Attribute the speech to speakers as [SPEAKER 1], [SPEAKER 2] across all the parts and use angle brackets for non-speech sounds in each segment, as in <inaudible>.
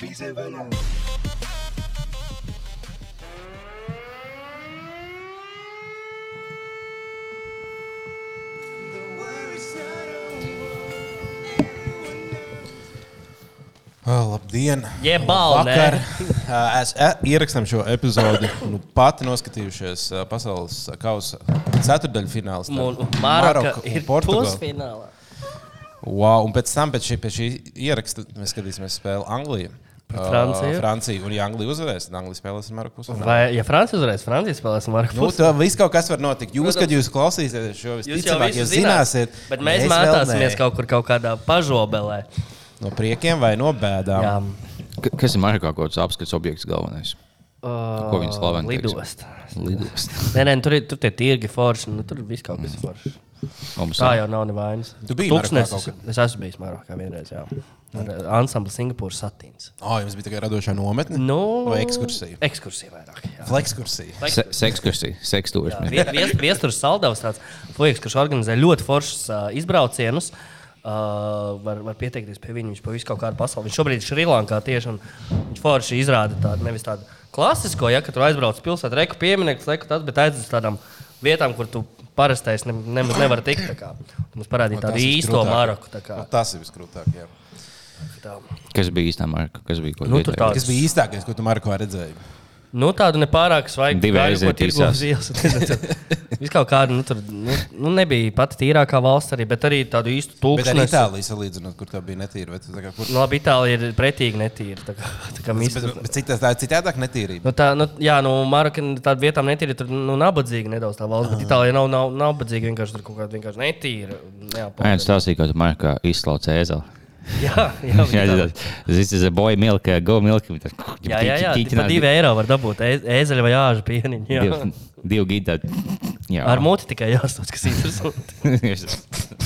[SPEAKER 1] Denise Venom.
[SPEAKER 2] Oh, labdien!
[SPEAKER 3] Jebal, nē.
[SPEAKER 2] Vakar, uh, es e- ierakstām šo epizodi. Nu, pati noskatījušies uh, pasaules uh, kausa ceturdaļfinālā.
[SPEAKER 3] Māra ir pusfinālā.
[SPEAKER 2] Wow, un pēc tam, pēc šī, pēc šī ieraksta, mēs skatīsimies spēli Anglijā.
[SPEAKER 3] Pret Franciju?
[SPEAKER 2] Uh, Francija. Un, ja Anglija uzvarēs, tad Anglija spēlēs ar Maroku. pusfinālā.
[SPEAKER 3] Vai, ja Francija uzvarēs, Francija spēlēs Marku
[SPEAKER 2] Nu,
[SPEAKER 3] Pusi?
[SPEAKER 2] tā viss kaut kas var notikt. Jūs, kad jūs klausīsieties šo visticamāk, jūs zināsiet,
[SPEAKER 3] Bet mēs
[SPEAKER 2] vēl
[SPEAKER 3] mācāmies
[SPEAKER 2] nē.
[SPEAKER 3] kaut kur kaut kādā pažobelē.
[SPEAKER 2] no priekiem vai no bēdām.
[SPEAKER 3] Jā.
[SPEAKER 4] Ka- Kas ir Marikā kaut kāds apskates objekts galvenais?
[SPEAKER 2] Nu,
[SPEAKER 3] Ko
[SPEAKER 4] viņi slaveni teiks?
[SPEAKER 3] Lidost.
[SPEAKER 4] Lidostā.
[SPEAKER 3] Nē, nē, tur ir tur tie tirgi forši. Nu, tur viss kaut kas ir forši.
[SPEAKER 4] Mums
[SPEAKER 3] Tā jau nav nevainas.
[SPEAKER 2] Mm. Tu biji Marokā kaut kad?
[SPEAKER 3] Es esmu bijis Marokā vienreiz. Jā. Ar eh, ansambli Singapūras satīns.
[SPEAKER 2] Oh, jums bija tikai radošā nometne
[SPEAKER 3] Nu,
[SPEAKER 2] vai ekskursija?
[SPEAKER 3] Ekskursija vairāk. jā.
[SPEAKER 2] Flekskursija.
[SPEAKER 4] Se, Sekskursija, sekstūris.
[SPEAKER 3] Vie- vies- Viestures saldavs tāds puisis, kurš organizē ļoti foršus uh, izbraucienus. Uh, var, var pieteikties pie viņa. Viņš pa visu kaut kādu pasauli. Viņš šobrīd ir Šrilankā tieši. un Viņš forši izrāda tādu nevis tādu klasisko, ja tur aizbrauc pilsētā, reku pieminiektu, reku tāds, bet aizbrauc uz tādām vietām, kur tu parastais ne, ne, nevar tikt. tā kā. Tu Mums parādīja tādu īsto Maroku. tā kā,
[SPEAKER 2] No, Nu, tas ir visgrūtāk. Jā.
[SPEAKER 3] tā.
[SPEAKER 4] Kas bija īstā Marika? Kas bija kaut
[SPEAKER 3] Nu, tur
[SPEAKER 4] vietējais?
[SPEAKER 2] Kas bija īstākais, ko tu Marko redzēji?
[SPEAKER 3] Nu, tādu nepārāk svaigu
[SPEAKER 4] Divi aiziet īsās.
[SPEAKER 3] <laughs> Vispār kaut kāda, nu, tur nu, nu, nebija pati tīrākā valsts, arī, bet arī tādu īstu
[SPEAKER 2] Bet arī
[SPEAKER 3] tūkstošu.
[SPEAKER 2] Itālijā salīdzinot, kur tā bija netīra. vai tu tā kā Kur...
[SPEAKER 3] Nu, labi, Itālija ir pretīgi netīra. Tā kā, tā kā
[SPEAKER 2] Bet,
[SPEAKER 3] mēs,
[SPEAKER 2] bet, bet citas, tā ir citādāk netīrība.
[SPEAKER 3] nu, tā, nu, jā, nu, Maroka ir tāda vietā netīra, tur nu, nabadzīga nedaudz tā valsts,
[SPEAKER 2] Ah.
[SPEAKER 3] bet Itālija nav, nav nabadzīga, vienkārši tur kaut kāda vienkārši netīra. Jā,
[SPEAKER 4] Ai, un stāstīja, ka tu Marikā izslauc ēzeli.
[SPEAKER 3] jā, jā,
[SPEAKER 4] <laughs> Jā,
[SPEAKER 3] jā.
[SPEAKER 4] jā, tas ir boy milk, uh, go milk.
[SPEAKER 3] Jā, jā, jā, jā par diviem eiro var dabūt ē- ēzeļu vai āžu pieniņu. jā.
[SPEAKER 4] Divu gidā. Jā,
[SPEAKER 3] Ar
[SPEAKER 4] <laughs>
[SPEAKER 3] muti tikai jāstāsta, kas interesanti.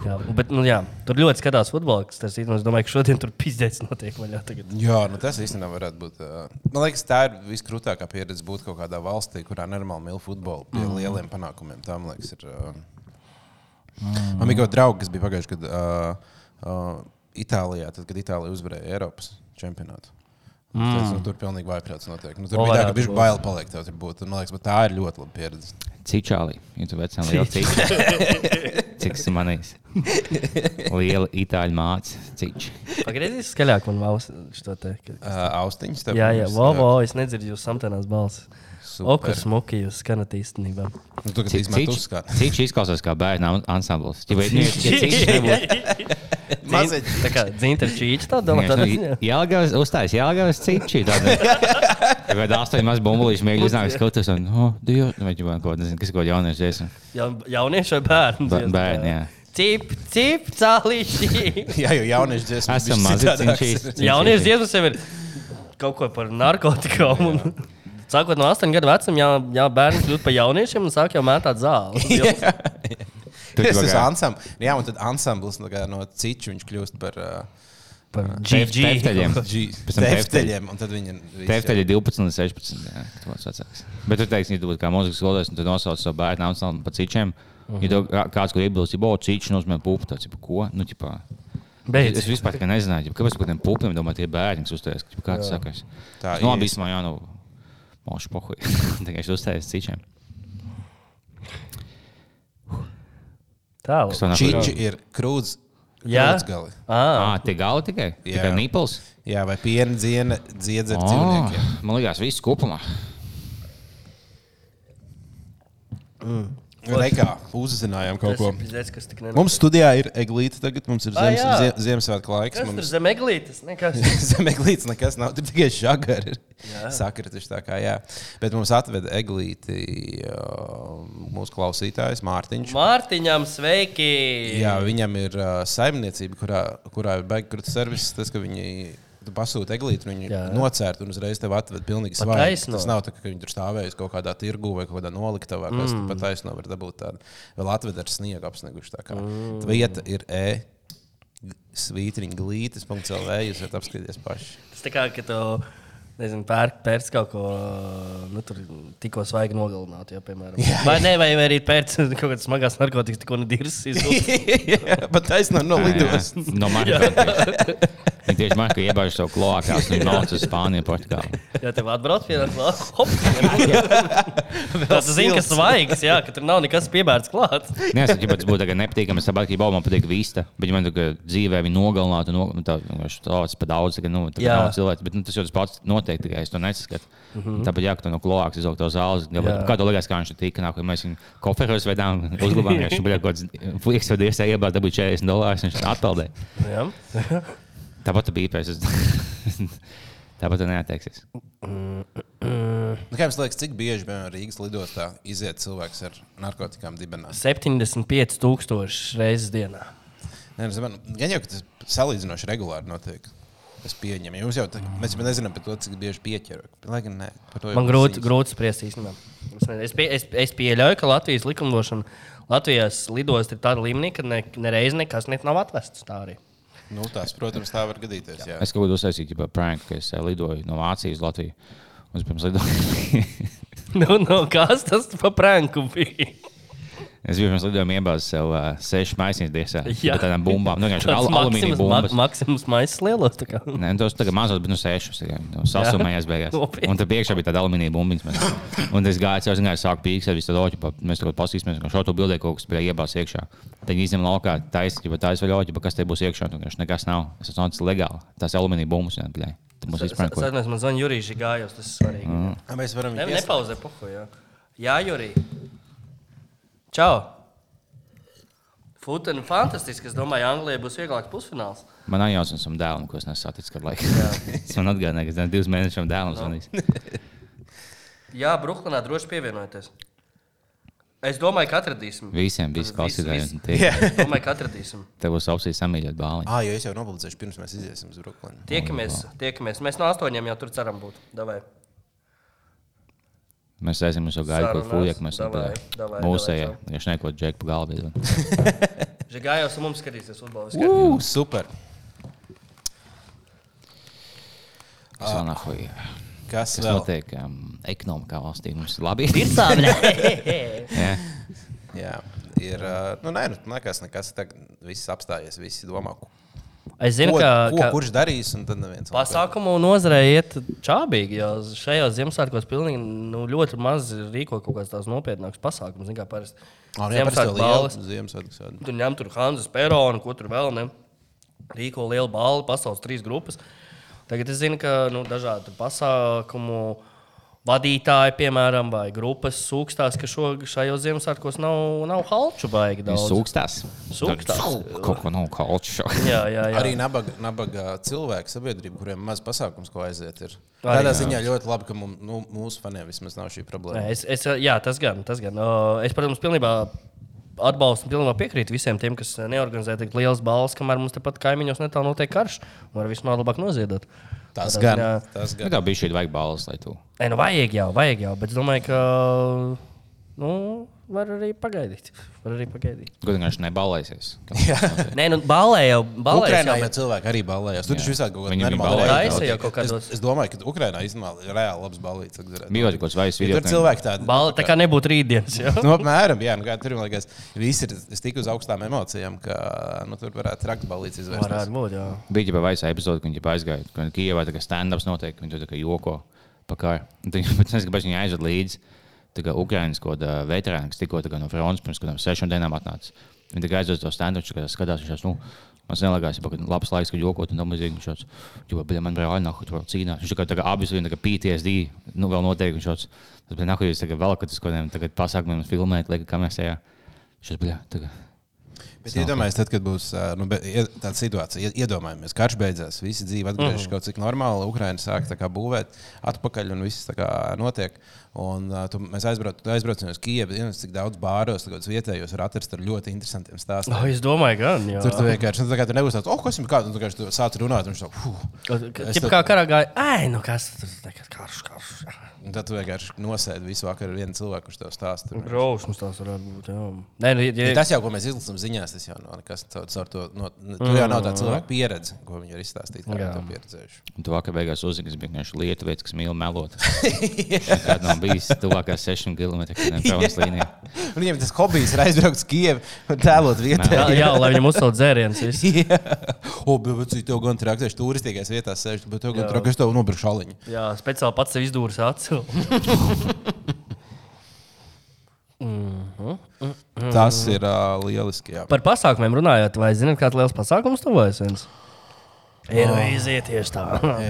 [SPEAKER 3] Jā, bet, nu, jā, tur ļoti skatās futbolu, kas tas ir. un Es domāju, ka šodien tur pizdēts notiek vaļā. Tagad.
[SPEAKER 2] Jā, nu tas īstenībā varētu būt. ā, Man liekas, tā ir viskrūtākā pieredze būt kaut kādā valstī, kurā nenormāli mīl futbolu pie mm. lieliem panākumiem. Tā, man liekas, ir. Uh... Mm. Man bija kaut kāds draugs, kas bija pagājuši gadu uh, uh, Itālijā, tad, kad Itālija uzvarēja Eiropas čempionātu. Mm. Tas, nu, tur bija pilnīgi vaiprāts. notiek. Nu, tur
[SPEAKER 3] O,
[SPEAKER 2] bija tā,
[SPEAKER 3] varētu
[SPEAKER 2] ka bija
[SPEAKER 3] būt.
[SPEAKER 2] bail palikt. tev tur būt. Un, Man liekas, bet tā ir ļoti laba pieredze.
[SPEAKER 4] Cīčāli. Jūs vecā liela cīča. Cik tas manīs? Liela itāļu māca cīča.
[SPEAKER 3] Pagriezīs skaļāk, man valsts šo te. ka-
[SPEAKER 2] Uh, austiņas tev.
[SPEAKER 3] Jā, jā,
[SPEAKER 2] pirms,
[SPEAKER 3] wow, wow, es nedzirdu jūs samtenās balsis.
[SPEAKER 2] Super.
[SPEAKER 3] Oku smuki jūs skanat īstenībā.
[SPEAKER 2] Nu, tu, kad izmet uzskatu.
[SPEAKER 4] Cīča izklausās kā bērnu ansamblis. Ja vai- nu, ja
[SPEAKER 3] <laughs>
[SPEAKER 4] cīči nebūtu-
[SPEAKER 3] Mazliet. Tā kā dzimta čīča tā
[SPEAKER 4] Jā,
[SPEAKER 3] doma.
[SPEAKER 4] es
[SPEAKER 3] Tad,
[SPEAKER 4] nu, Jelgavas, uzstājas Jālgavas cīča. Tad astoņi maz bumbuļus mēģi uznākt skatus un, oh, Dievs, vai ģimēn kaut, nezinu, kas kaut jaunies dziesma.
[SPEAKER 3] ja, jaunieši vai bērni?
[SPEAKER 4] Bē- Bērni, jā.
[SPEAKER 3] Cip, cip, cālīši.
[SPEAKER 2] <laughs> Jā, jau jauniešu dziesmu.
[SPEAKER 4] Esam mazi
[SPEAKER 2] <laughs>
[SPEAKER 4] cīčīs.
[SPEAKER 3] Jaunieši dziesmas jau ir kaut ko par narkotikām. un Sākot no 8 gadu vecuma, jā, jā bērni kļūst par jauniešiem un sāk jau mētāt <laughs> zāli.
[SPEAKER 4] Tu
[SPEAKER 2] Tas
[SPEAKER 4] kaut
[SPEAKER 2] ir
[SPEAKER 4] kā-
[SPEAKER 2] ansamblis. nu Jā, un tad ansamblis no, no ciču viņš kļūst par uh,
[SPEAKER 3] Par
[SPEAKER 2] <laughs>
[SPEAKER 4] Tefteļiem. Pēc tam tefteļiem.
[SPEAKER 2] tefteļiem. Un tad viņi
[SPEAKER 4] Tefteļi ir 12 un 16. Jā, tu esi vecāks. Bet tu teiksi, ja tu būtu kā mūzikas skolotājs un tu nosauc savu bērnu ansambli pa cičiem, ja tev kā- kāds, kur iebilst, ja būtu ciči, nozīmē pupu, tad, tipo, ko? Nu, tipo,
[SPEAKER 3] Beidz.
[SPEAKER 4] Es vispār tikai nezināju, ģip, kāpēc par tiem pupiem domā tie bērni, kas uztājas. ģip, Kāds saka,
[SPEAKER 2] Tā
[SPEAKER 4] tā ir. Nu,
[SPEAKER 2] ir.
[SPEAKER 4] labi, īstenībā, jā, nu, mošu pohuj. <laughs> Tikai es uztājos cičiem.
[SPEAKER 3] Tālu.
[SPEAKER 4] Kas to nav?
[SPEAKER 2] Čiči ir krūts.
[SPEAKER 3] Jā?
[SPEAKER 2] gali.
[SPEAKER 3] Ah,
[SPEAKER 4] Ā, tie gali tikai?
[SPEAKER 2] Jā.
[SPEAKER 4] Tikai nipels?
[SPEAKER 2] Jā, vai piena dziena dziedz ar
[SPEAKER 4] Ā,
[SPEAKER 2] dzīvniekiem.
[SPEAKER 4] Man liekas, viss kopumā.
[SPEAKER 2] Reikā
[SPEAKER 3] <laughs>
[SPEAKER 2] uzzinājām kaut
[SPEAKER 3] tas
[SPEAKER 2] ko.
[SPEAKER 3] ir pizdzēts, kas tik nenāk.
[SPEAKER 2] Mums studijā ir eglīte tagad, mums ir
[SPEAKER 3] Ā,
[SPEAKER 2] ziemas,
[SPEAKER 3] jā.
[SPEAKER 2] zie, Ziemassvētku laiks.
[SPEAKER 3] Kas tur
[SPEAKER 2] Mums
[SPEAKER 3] zem eglītes?
[SPEAKER 2] <laughs>
[SPEAKER 3] Nekas.
[SPEAKER 2] zemeklīts nekas nav, tur tikai žagari ir. Sakrituši tā kā jā. Bet mums atveda eglīti uh, mūsu klausītājs Mārtiņš.
[SPEAKER 3] Mārtiņam sveiki!
[SPEAKER 2] Jā, viņam ir uh, saimniecība, kurā, kurā ir beigas krūtis servis. Tas, ka viņi tu pasūta eglīti, un viņi
[SPEAKER 3] Jā.
[SPEAKER 2] nocērt un uzreiz tev atved pilnīgi
[SPEAKER 3] Pa
[SPEAKER 2] svaigu.
[SPEAKER 3] taisno.
[SPEAKER 2] Tas nav tā, ka viņi tur stāvējuši kaut kādā tirgu vai kaut kādā noliktavā, kas mm. pat taisno var dabūt tādu. Vēl atved ar sniegu apsnieguši. Tā kā mm. vieta ir E. Svītriņa glītis, punkts LV. Jūs varat apskatīties paši.
[SPEAKER 3] Tas tā kā, ka tu nezinu, pērk, pērk kaut ko, nu, tur tikko svaigi nogalināt, ja, piemēram. Vai nē, vai vai arī pērk <laughs> kaut kādas smagas narkotikas, tikko nedirs.
[SPEAKER 2] Bet taisnība no lidostas.
[SPEAKER 4] <laughs> No manis. Viņa tieši man, ka iebāž savu klāstu, un nāca uz Spāniju, Portugāli.
[SPEAKER 3] Jā, tev atbrauc pie tādas
[SPEAKER 4] <laughs>
[SPEAKER 3] hops. Tas zina, ka svaigs, jā, ka tur nav nekas piebērts klāts.
[SPEAKER 4] Nē, es domāju, tas būtu tagad nepatīkami. Es saprotu, ka man patīk vīsta, bet man tagad dzīvē viņa nogalināta. No, nu, tā vienkārši tāds pa daudz, ka nu, tā
[SPEAKER 3] Jā.
[SPEAKER 4] nav cilvēks. Bet nu, tas jau tas pats noteikti, tikai es to nesaskatu. Mm -hmm. Tāpēc, ja tu no kloākas izvelk to zāles,
[SPEAKER 3] Mhm. Jā.
[SPEAKER 4] tad kā tu liekas, kā viņš tur tika, nāk, mēs viņu koferos vedām, uzglabājām,
[SPEAKER 3] <laughs>
[SPEAKER 4] viņš bija kaut kāds flieks, vai dievs, iebāra dabūja 40 dolārus, viņš atpeldē.
[SPEAKER 3] Jā.
[SPEAKER 4] Tāpat tu bīpēs. es- <laughs> Tāpat tu neatteiksies.
[SPEAKER 2] Nu, kā jums liekas, cik bieži piemēram, Rīgas lidostā iziet cilvēks ar narkotikām dibenā?
[SPEAKER 3] 75,000 reizes dienā.
[SPEAKER 2] Nē, nu, zinu, Gan jau, ka tas salīdzinoši regulāri notiek. Es pieņemu. Jums jau tā, mēs jau nezinām par to, cik bieži pieķer. Lai gan nē, par to jau
[SPEAKER 3] Man grūti,
[SPEAKER 2] sīk.
[SPEAKER 3] grūti spriest īstenībā. Es, nezinu. es, pie, es, es pieļauju, ka Latvijas likumdošana Latvijas lidostā ir tāda līmenī, ka ne, nereiz nekas net nav atvests. Tā arī. <laughs>
[SPEAKER 2] Nu, tās, protams, tā var gadīties. Jā.
[SPEAKER 4] Es kaut kādā uztaisīju, ja prank, ka es eh, lidoju no Vācijas uz Latviju. Un es pirms lidoju.
[SPEAKER 3] Nu, nu, kas tas par pranku
[SPEAKER 4] <laughs>
[SPEAKER 3] bija?
[SPEAKER 4] Es biju pirms lidojuma iebāzis sev uh, sešu maisiņu diezā.
[SPEAKER 3] Jā.
[SPEAKER 4] Jā, tādām bumbām. Nu, vienkārši
[SPEAKER 3] Tāds
[SPEAKER 4] al alumīnija
[SPEAKER 3] Maksims-
[SPEAKER 4] bumbas.
[SPEAKER 3] Ma- Maksims maisas lielos. tā kā.
[SPEAKER 4] Nē, nu, tos tagad mazos, bet nu sešus. tikai. Nu, Sasumējās beigās.
[SPEAKER 3] Nopietni.
[SPEAKER 4] Un tad priekšā bija tāda alumīnija bumbiņa. mēs- Un es gāju, es gāju, sāku pīkstēt, visu to loķu. pa- Mēs tur paskatīsimies, ka šo to bildē kaut kas bija iebāzis iekšā. Tad viņi izņem laukā taisnība, tā ir loķa, bet kas te būs iekšā? Tur nekas nav. Es esmu nācis legāli. Tās alumīnija bumbas. jā, bļē. Tad mums
[SPEAKER 3] Es
[SPEAKER 4] vispār neko.
[SPEAKER 3] atceros, man zvanīja Jurijs Gājos, tas ir svarīgi. Mm.
[SPEAKER 2] Mēs varam
[SPEAKER 3] Ne,
[SPEAKER 2] viņu ieslēgt.
[SPEAKER 3] nepauzē, poho. Jā, jā Jurī. Čau! Futbola fantastiski. Es domāju, Anglijai būs vieglāks pusfināls.
[SPEAKER 4] Man ir jāsaka, esam dēlam, ko es nesaticu kādu laiku. <laughs> Es man atgādināju, ka es ne- divus mēnešus dēlam zvanīju.
[SPEAKER 3] Jā, Brooklynā droši pievienojieties. Es domāju, ka atradīsim.
[SPEAKER 4] Visiem bija
[SPEAKER 3] Vis-
[SPEAKER 4] klausītājiem.
[SPEAKER 3] vis-
[SPEAKER 4] tie-
[SPEAKER 3] Es domāju, ka atradīsim.
[SPEAKER 4] Tev būs ausīs samīļot bāliņu.
[SPEAKER 2] Ah, jo es jau nobaldzēšu pirms mēs iziesim uz Brooklynu.
[SPEAKER 3] Tiekamies, tiekamies. Mēs no astoņiem jau tur ceram būt. Davai.
[SPEAKER 4] Mēs esam jau gājuši kaut
[SPEAKER 3] Sarunās,
[SPEAKER 4] kur fuljak, mēs esam
[SPEAKER 3] davai, davai,
[SPEAKER 4] mūsējā.
[SPEAKER 3] davai,
[SPEAKER 4] Ja šeit neko džeku pa galvu iedod.
[SPEAKER 3] Žigājos un mums skatīsies futbolu.
[SPEAKER 2] Uh, super!
[SPEAKER 4] Kas vēl nav fuj?
[SPEAKER 2] Kas
[SPEAKER 4] Kas
[SPEAKER 2] vēl?
[SPEAKER 4] notiek um, ekonomikā valstī? Mums ir labi.
[SPEAKER 3] Pircāvnē!
[SPEAKER 4] Jā.
[SPEAKER 2] Jā, ir. ā, Nu, nē, nu, man liekas, nekas. Tagad viss apstājies, visi domā, ko,
[SPEAKER 3] Es zinu,
[SPEAKER 2] ko,
[SPEAKER 3] ka,
[SPEAKER 2] ko
[SPEAKER 3] ka
[SPEAKER 2] kurš darīs. Un tad neviens.
[SPEAKER 3] pasākumu nozarē iet čābīgi, jo šajos Ziemassvētkos pilnīgi, nu, ļoti maz rīko kaut kādas tādas nopietnākas pasākumas. Zini, kā parasti Ziemassvētku balvas.
[SPEAKER 2] Ziemassvētku sēdi.
[SPEAKER 3] Tur ņem tur Hanzas Peronu, ko tur vēl ne. Rīko lielu balvu, pasaules trīs grupas. Tagad es zinu, ka nu, dažādu pasākumu vadītāji, piemēram, vai grupas sūkstās, ka šo, šajos Ziemassvētkos nav, nav halču baigi
[SPEAKER 4] Viņš
[SPEAKER 3] daudz.
[SPEAKER 4] <laughs> sūkstās.
[SPEAKER 3] Sūkstās.
[SPEAKER 4] Tad Kaut ko nav kalču.
[SPEAKER 3] <laughs> Jā, jā, jā.
[SPEAKER 2] Arī nabaga, nabaga cilvēki, sabiedrība, kuriem maz pasākums, ko aiziet, ir.
[SPEAKER 3] Arī,
[SPEAKER 2] Tādā ziņā ļoti labi, ka mums, nu, mūsu faniem vismaz nav šī
[SPEAKER 3] Nē,
[SPEAKER 2] problēma.
[SPEAKER 3] Es, es, jā, tas gan, tas gan. Uh, Es, protams, pilnībā atbalstu un pilnībā piekrītu visiem tiem, kas uh, neorganizē tik liels balvas, kamēr mums tepat kaimiņos netālu notiek karš. Var vismaz labāk noziedot.
[SPEAKER 2] Tas
[SPEAKER 3] Tādā
[SPEAKER 2] gan.
[SPEAKER 3] ziņā-
[SPEAKER 2] Tas
[SPEAKER 4] Nu,
[SPEAKER 2] gan.
[SPEAKER 4] tā bija šī vajag balvas, lai tu.
[SPEAKER 3] Nē, nu vajag jau, vajag jau, bet es domāju, ka nu, var arī pagaidīt. Var arī pagaidīt.
[SPEAKER 4] Godīgi nebalēsies.
[SPEAKER 3] Nē, nu balē jau, balē
[SPEAKER 2] Ukrainā
[SPEAKER 3] jau.
[SPEAKER 2] jau
[SPEAKER 3] Bet...
[SPEAKER 2] cilvēki arī balējās. Tur taču visādi kaut
[SPEAKER 4] Viņi
[SPEAKER 2] kāda
[SPEAKER 4] bija
[SPEAKER 2] normāla
[SPEAKER 4] balējās.
[SPEAKER 2] lieta
[SPEAKER 3] Taisa jau
[SPEAKER 2] notiek.
[SPEAKER 3] kaut kādos-
[SPEAKER 2] Es, es domāju, ka Ukrainā īstenībā ir reāli labs balīts. Ja
[SPEAKER 4] Bija kaut kāds vairs video.
[SPEAKER 2] tur cilvēki tādi.
[SPEAKER 3] Balē, tā kā nebūtu rītdienas. Jā.
[SPEAKER 2] Nu, apmēram, jā, nu, kā tur bija. Visi ir es tiku uz augstām emocijām, ka nu, tur varētu traks balīts izvērsties.
[SPEAKER 3] Varētu būt, jā.
[SPEAKER 4] Bija jau vairs epizode, kad viņi ģipā aizgāja. Kad Kijavā tā kā stand-ups notiek, viņi tur tā kā joko par karu. Un Tad <laughs> viņi pēc tam, kad viņi aizved līdzi, tā kā Ukraiņas kaut kāda veterāna, kas tikko tā kā no frontes pirms kādām sešām dienām atnāca. Viņi tā kā aizved to stand-upu, kad skatās viņš. tās, Nu, Man liekas, ka ir labs laiks, kad jokot, un tam līdzīgi viņš šāds - jau bija man brāli, nāk, tur vēl cīnās. Viņš tā kā tā kā abas viņa tā kā PTSD, nu vēl noteikti viņš šāds. Tas bija nāk, jūs tagad vēl kaut kādiem tagad pasākumiem filmēt, lieka kamerasējā. Šis bija tagad.
[SPEAKER 2] Bet iedomājieties, tad, kad būs ā, nu, be- ie- tāda situācija, ie- iedomājamies, karš beidzās, visi dzīve atgriežas kaut cik normāli, Ukraiņa sāk tā kā būvēt atpakaļ un viss tā kā notiek. Un, ā, tu, mēs aizbrauc- aizbraucam uz Kijavu, zinās, cik daudz bāros, tagad vietējos var atrast ar ļoti interesantiem stāstiem.
[SPEAKER 3] <laughs> Oh, es domāju, gan. Jā.
[SPEAKER 2] Tur tu vienkārši nu, tā kā tur nebūs tāds, oh, kas ir kāds, un tu vienkārši tu sāc runāt, un viņš tā, "Fuh." Es
[SPEAKER 3] Tāpat
[SPEAKER 2] tad-
[SPEAKER 3] kā karā gāja, ai, nu kas tur ir karš, karš.
[SPEAKER 2] un tad tu vienkārši nosēdi
[SPEAKER 3] Mm.
[SPEAKER 2] visu vakaru ar vienu cilvēku, kurš tev stāsta.
[SPEAKER 3] Grausmas tās varētu būt. Jā. Nē, nu, ja,
[SPEAKER 2] Tas jau, ko mēs izlasām ziņās, izstāst, tas jau nav nekas tāds ar to. No, no, tur jau nav tā cilvēka pieredze, ko viņi ir izstāstījuši. Kā viņi to pieredzējuši.
[SPEAKER 4] Un tu vakar beigās uzzini, ka viņš vienkārši lietuvietis, kas mīl
[SPEAKER 2] <laughs>
[SPEAKER 4] melot. Kāda nav bijusi tuvākā 6 km
[SPEAKER 2] <laughs> Jā.
[SPEAKER 4] līnijā. <laughs>
[SPEAKER 2] Viņiem tas hobijs ir aizbraukt uz Kievu un tēlot
[SPEAKER 3] Jā,
[SPEAKER 2] vietējā.
[SPEAKER 3] jā, lai viņam uzsākt dzērienus. viss.
[SPEAKER 2] Jā, o, bet vecīt, tev gan traktēšu turistīgās vietās sēž, bet tev gan
[SPEAKER 3] Jā.
[SPEAKER 2] traktēšu tev nopirkšu aliņu.
[SPEAKER 3] <laughs> Jā, speciāli pats sev izdūris acu.
[SPEAKER 2] Tas ir uh, lieliski. Jā.
[SPEAKER 3] <laughs> Par pasākumiem runājot, vai zināt, kāds liels pasākums tuvojas viens? Ir iziet tieši tā.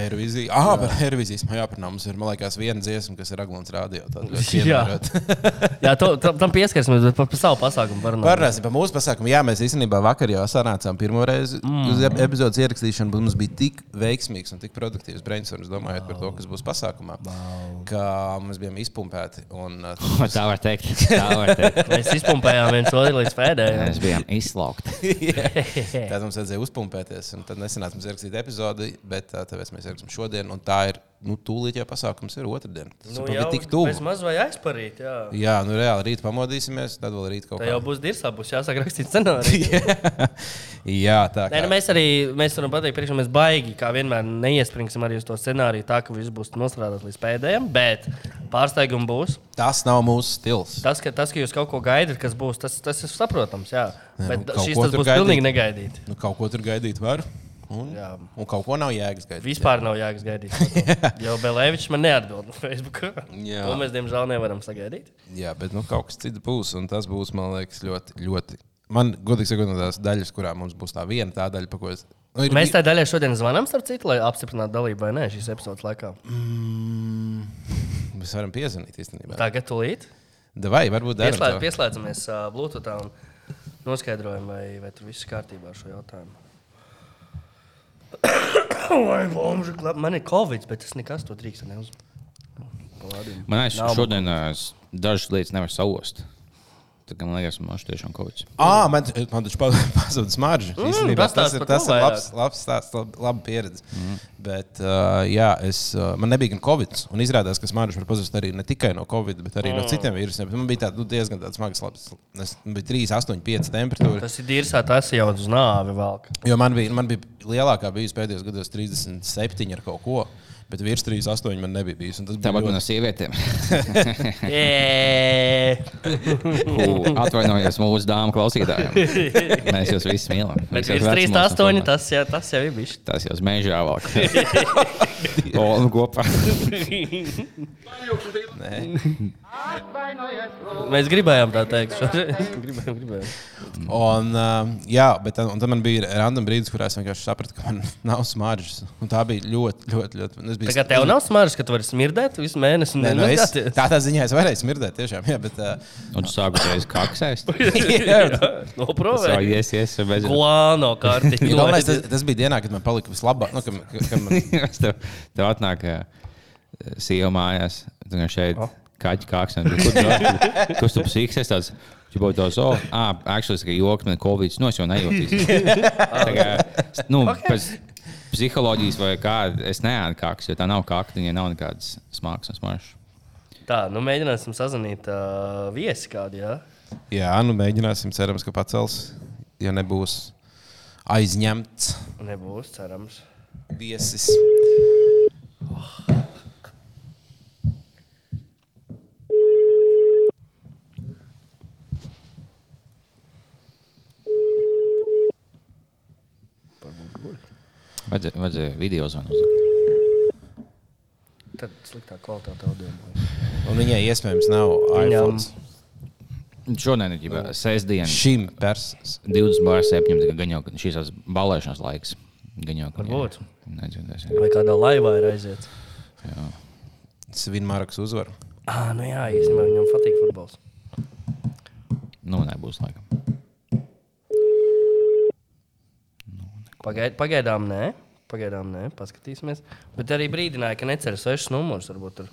[SPEAKER 2] Eirovizija. Ah, par Eirovizijas man jāparunā. Mums ir, man liekas, viena dziesma, kas ir Aglons Rādio. Tad ļoti
[SPEAKER 3] <laughs> Jā.
[SPEAKER 2] ievērot.
[SPEAKER 3] <laughs> Jā, to, tam, tam pieskarsimies, bet par, par savu pasākumu parunāsim.
[SPEAKER 2] Parunāsim par mūsu pasākumu. Jā, mēs īstenībā vakar jau sanācām pirmo reizi mm. uz ep- epizodes ierakstīšanu, bet mums bija tik veiksmīgs un tik produktīvs brainstorms domājot wow. par to, kas būs pasākumā. Wow. Ka mēs bijām izpumpēti. Un, uh,
[SPEAKER 4] Tā var teikt. Tā var teikt.
[SPEAKER 2] <laughs>
[SPEAKER 3] Mēs izpumpējām viens otru līdz pēdējiem.
[SPEAKER 4] Mēs bijām izslaukti.
[SPEAKER 3] <laughs>
[SPEAKER 2] tad mums vajadzēja uzpumpēties, un tad nesenāca mums ierakstīt epizodi, bet uh, tāpēc mēs ierakstām šodien, un tā ir nu, tūlīt jau pasākums ir otrdien. Tas nu, jau tik tuvu.
[SPEAKER 3] Mēs maz vai aizparīt, jā.
[SPEAKER 2] Jā, nu reāli rīt pamodīsimies, tad vēl rīt kaut
[SPEAKER 3] Tā
[SPEAKER 2] kā.
[SPEAKER 3] jau būs dirsā, būs jāsāk rakstīt scenāriju.
[SPEAKER 2] <laughs> Jā, tā
[SPEAKER 3] Nē,
[SPEAKER 2] kā.
[SPEAKER 3] nu, mēs arī mēs varam pateikt, priekšā mēs baigi, kā vienmēr, neiespringsim arī uz to scenāriju, tā ka viss būs nostrādāts līdz pēdējiem, bet pārsteigums būs.
[SPEAKER 2] Tas nav mūsu stils.
[SPEAKER 3] Tas ka, tas, ka jūs kaut ko gaidāt, kas būs, tas, tas ir saprotams. Jā.
[SPEAKER 2] Nē,
[SPEAKER 3] Jā,
[SPEAKER 2] nu,
[SPEAKER 3] bet
[SPEAKER 2] kaut
[SPEAKER 3] šis
[SPEAKER 2] ko
[SPEAKER 3] tas
[SPEAKER 2] tur
[SPEAKER 3] būs
[SPEAKER 2] gaidīt.
[SPEAKER 3] gaidīt. pilnīgi negaidīti.
[SPEAKER 2] Nu, kaut ko tur gaidīt var. Un,
[SPEAKER 3] Jā.
[SPEAKER 2] un kaut ko nav jēgas gaidīt.
[SPEAKER 3] Vispār nav jāgas gaidīt.
[SPEAKER 2] <laughs>
[SPEAKER 3] jo Belēvičs man neatbild no Facebook.
[SPEAKER 2] Jā.
[SPEAKER 3] To mēs diemžēl nevaram sagaidīt.
[SPEAKER 2] Jā, bet nu, kaut kas cits būs. Un tas būs, man liekas, ļoti. ļoti. Man, godīgi sakot, no tās daļas, kurā mums būs tā viena tā daļa, pa ko es. Nu, ir
[SPEAKER 3] Mēs tā daļai šodien zvanām, starp citu, lai apstiprinātu dalību vai nē, šīs epizodes laikā.
[SPEAKER 2] bi- Mēs varam piezvanīt īstenībā.
[SPEAKER 3] Tagad tulīt.
[SPEAKER 2] Vai varbūt daļa
[SPEAKER 3] Pieslēdz, pieslēdzamies uh, Bluetooth un noskaidrojam, vai, vai tur viss kārtībā ar šo <coughs> jautājumu. Vai bomži klāp? Man ir Covid, bet tas nekas to drīkst neuzmanīt.
[SPEAKER 4] Man liekas, šodien ā, s- dažas lietas nevar savost. Tā kā man liekas, man ir tiešām kaut kas.
[SPEAKER 2] Ah, man, man taču <laughs> pazuda smarža. Mm, tas, tas
[SPEAKER 3] pastāsti
[SPEAKER 2] ir,
[SPEAKER 3] par
[SPEAKER 2] tas
[SPEAKER 3] to
[SPEAKER 2] ir
[SPEAKER 3] vairāk.
[SPEAKER 2] labs, labs stāsts, lab, laba pieredze. Mm. Bet, uh, jā, es, uh, man nebija gan covid, un izrādās, ka smarža var pazust arī ne tikai no covid, bet arī mm. no citiem vīrusiem. Man bija tāda, nu, diezgan tāds smags, labs, es, man bija 3, 8, 5 temperatūra.
[SPEAKER 3] Tas ir dirzā, tas jau uz nāvi
[SPEAKER 2] <laughs>
[SPEAKER 3] valk.
[SPEAKER 2] Jo man bija, man bija lielākā bijusi pēdējos gados 37 ar kaut ko, bet virs 3, 8 man nebija bijusi. un tas bija
[SPEAKER 4] Tāpat
[SPEAKER 2] ļoti-
[SPEAKER 4] man no
[SPEAKER 2] <laughs>
[SPEAKER 4] sievietēm.
[SPEAKER 3] Jē!
[SPEAKER 4] Ū, Atvainojos mūsu dāmas
[SPEAKER 2] <laughs>
[SPEAKER 4] klausītājiem. Mēs jūs visus mīlam.
[SPEAKER 3] Bet
[SPEAKER 4] Jūs
[SPEAKER 3] virs 3,
[SPEAKER 4] esat vecumos,
[SPEAKER 3] 8,
[SPEAKER 4] un
[SPEAKER 3] tas jau, tas jau ir bijis.
[SPEAKER 4] Tas jau smēžā valk.
[SPEAKER 2] <laughs>
[SPEAKER 4] <laughs> Olu nu kopā.
[SPEAKER 3] Mēs gribējām tā
[SPEAKER 2] <laughs>
[SPEAKER 3] teikt. šodien. gribējām, gribējām.
[SPEAKER 2] Un, uh, jā, bet tad, un tad man bija random brīdis, kurā es vienkārši sapratu, ka man <laughs> nav smaržas. Un tā bija ļoti, ļoti. ļoti es biju-
[SPEAKER 3] Tā kā tev nav smaržas, ka tu vari smirdēt visu mēnesi. un
[SPEAKER 2] Nē, nu es,
[SPEAKER 3] nemazgāties? <laughs>
[SPEAKER 2] tā <laughs> tā ziņā es varēju smirdēt, tiešām. Jā, bet, uh,
[SPEAKER 4] Un tu sāku
[SPEAKER 2] <laughs>
[SPEAKER 4] reiz kaksēs.
[SPEAKER 3] Noprovērt.
[SPEAKER 4] Sāku ies, ies, bez.
[SPEAKER 3] Plāno kārtīgi.
[SPEAKER 2] ja galvenais, tas, tas bija dienā, kad man palika vislabāk. Nu, ka, ka, ka <laughs> man,
[SPEAKER 4] <laughs> Es tev, tev atnāk ā, sieva mājās, tu gan šeit kaķi kāksē. un tu, Kur tu- kur tu psihiski esi tāds? Viņš būtu tāds, oh, ah, actually, tas ir joks, man Covid, no Nu, es jau nejūtīšu. Tā kā, nu, pēc psiholoģijas vai kā, es neatkāks, jo tā nav kakta, viņai nav nekādas smags un smaržas.
[SPEAKER 3] Tā, nu mēģināsim sazvanīt uh, viesi kādu. Jā.
[SPEAKER 2] jā, nu mēģināsim, cerams, ka pacels, ja nebūs aizņemts
[SPEAKER 3] Nebūs, cerams.
[SPEAKER 2] viesis.
[SPEAKER 4] Vajadzēja, vajadzēja nu video zvanu.
[SPEAKER 3] Tad sliktā kvalitāte audio. būs.
[SPEAKER 2] Un viņai iespējams nav
[SPEAKER 3] Viņam-
[SPEAKER 2] iPhone.
[SPEAKER 4] Šodien ir jau sestdiena,
[SPEAKER 2] Šim personam.
[SPEAKER 4] 20.07. gan jau šīs tās balēšanas laiks. Gan jau, ka-
[SPEAKER 3] Varbūt.
[SPEAKER 4] Nezinu, tas ir.
[SPEAKER 3] Vai kādā laivā ir aiziet?
[SPEAKER 2] Svinmāraks uzvaru.
[SPEAKER 3] Ah, nu jā, īstenībā viņam patīk futbols.
[SPEAKER 4] Nu, nebūs laikam.
[SPEAKER 3] Pagaid, pagaidām nē. Pagaidām, nē, paskatīsimies. Bet arī brīdināja, ka necer svešs numurs. Varbūt tur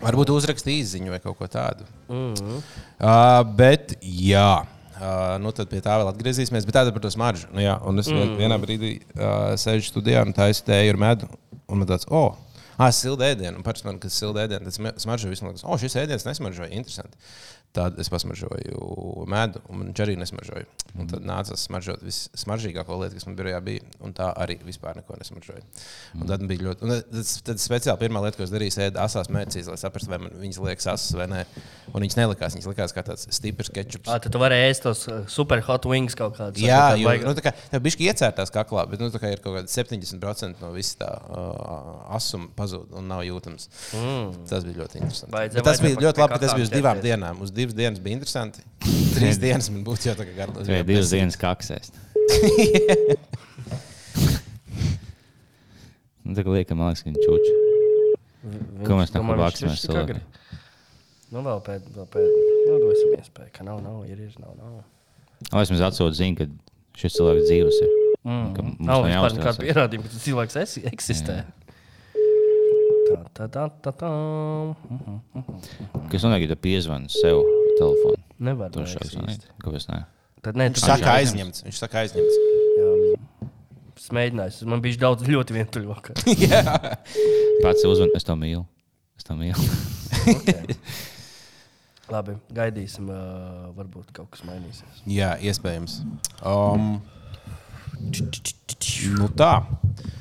[SPEAKER 2] Varbūt uzrakstīja izziņu vai kaut ko tādu. Mm -hmm. uh, bet, jā, uh, nu tad pie tā vēl atgriezīsimies. Bet tāda par to smaržu. Nu, jā, un es mm -hmm. vienā brīdī uh, sēžu studijā un taisu tēju ar medu. Un man tāds, oh, ah, silda ēdienu. Un pats man, kas silda ēdienu, tad smaržo visu laiku. O, šis ēdiens nesmaržoja. Interesanti. Tad es pasmažoju medu, un man arī nesmažoju. Un tad nācās smaržot vissmaržīgāko lietu, kas man birojā bija. Un tā arī vispār neko nesmažoja. Un tad bija ļoti. un Tad, tad speciāli pirmā lieta, ko es darīju, bija asās mērķis, lai saprastu, vai man viņas liekas asas vai nē. Un viņas nelikās, viņas likās kā tāds stiprs ketčups.
[SPEAKER 3] Ah, tad tu vari ēst tos uh, super hot wings kaut kādus.
[SPEAKER 2] Jā,
[SPEAKER 3] vai
[SPEAKER 2] jau
[SPEAKER 3] kaut kādu-
[SPEAKER 2] nu, tā kā tev bišķi iecērtās kaklā, bet nu, tā kā ir kaut kāda 70% no visa tā uh, asuma pazūd un nav jūtams. Mm. Tas bija ļoti interesanti.
[SPEAKER 3] Vajadzē-
[SPEAKER 2] Bet tas
[SPEAKER 3] vajadzē
[SPEAKER 2] bija
[SPEAKER 3] pa-
[SPEAKER 2] ļoti
[SPEAKER 3] pie
[SPEAKER 2] labi, ka tas bija uz
[SPEAKER 3] kaklām
[SPEAKER 2] divām
[SPEAKER 3] ķerties.
[SPEAKER 2] dienām. Uz divas dienas bija interesanti. Trīs dienas man būtu jau tā kā garlaicīgi.
[SPEAKER 4] Tikai divas dienas kaksēs. Nu, tā kā liekas, man liekas, ka viņš čūča.
[SPEAKER 3] Viņš,
[SPEAKER 4] Ko mēs tā kā
[SPEAKER 3] domāju, viņš
[SPEAKER 4] vāksimies
[SPEAKER 3] tieši tā
[SPEAKER 4] cilvēki?
[SPEAKER 3] grib. Nu, vēl pēc, vēl pēc, nu, dosim iespēju, ka nav, nav, ir, ir, nav, nav.
[SPEAKER 4] Lai es jums atsūtu ziņu, ka šis cilvēks dzīves ir. Mm. Ka mums
[SPEAKER 3] Nav
[SPEAKER 4] nav
[SPEAKER 3] vispār nekāda
[SPEAKER 4] jāuztraucas.
[SPEAKER 3] pierādījuma, ka tas cilvēks esi, eksistē. Tā, tā, tā, tā, tā. Mhm.
[SPEAKER 4] Kas notiek, ja tu piezvani sev telefonu?
[SPEAKER 3] Nevar
[SPEAKER 4] To
[SPEAKER 3] būt
[SPEAKER 4] šāds
[SPEAKER 3] tā.
[SPEAKER 4] zvanīt. Kāpēc ne?
[SPEAKER 3] Tad nē,
[SPEAKER 2] Viņš
[SPEAKER 3] tas
[SPEAKER 2] saka, aizņemts. Viņš saka, aizņemts.
[SPEAKER 3] Es mēģināju, man bija daudz ļoti vientuļvaka.
[SPEAKER 4] Pats sev uzvan, es to mīlu. Es to mīlu.
[SPEAKER 3] Labi, gaidīsim, ā, varbūt kaut kas mainīsies.
[SPEAKER 2] Jā, iespējams. Um, nu tā.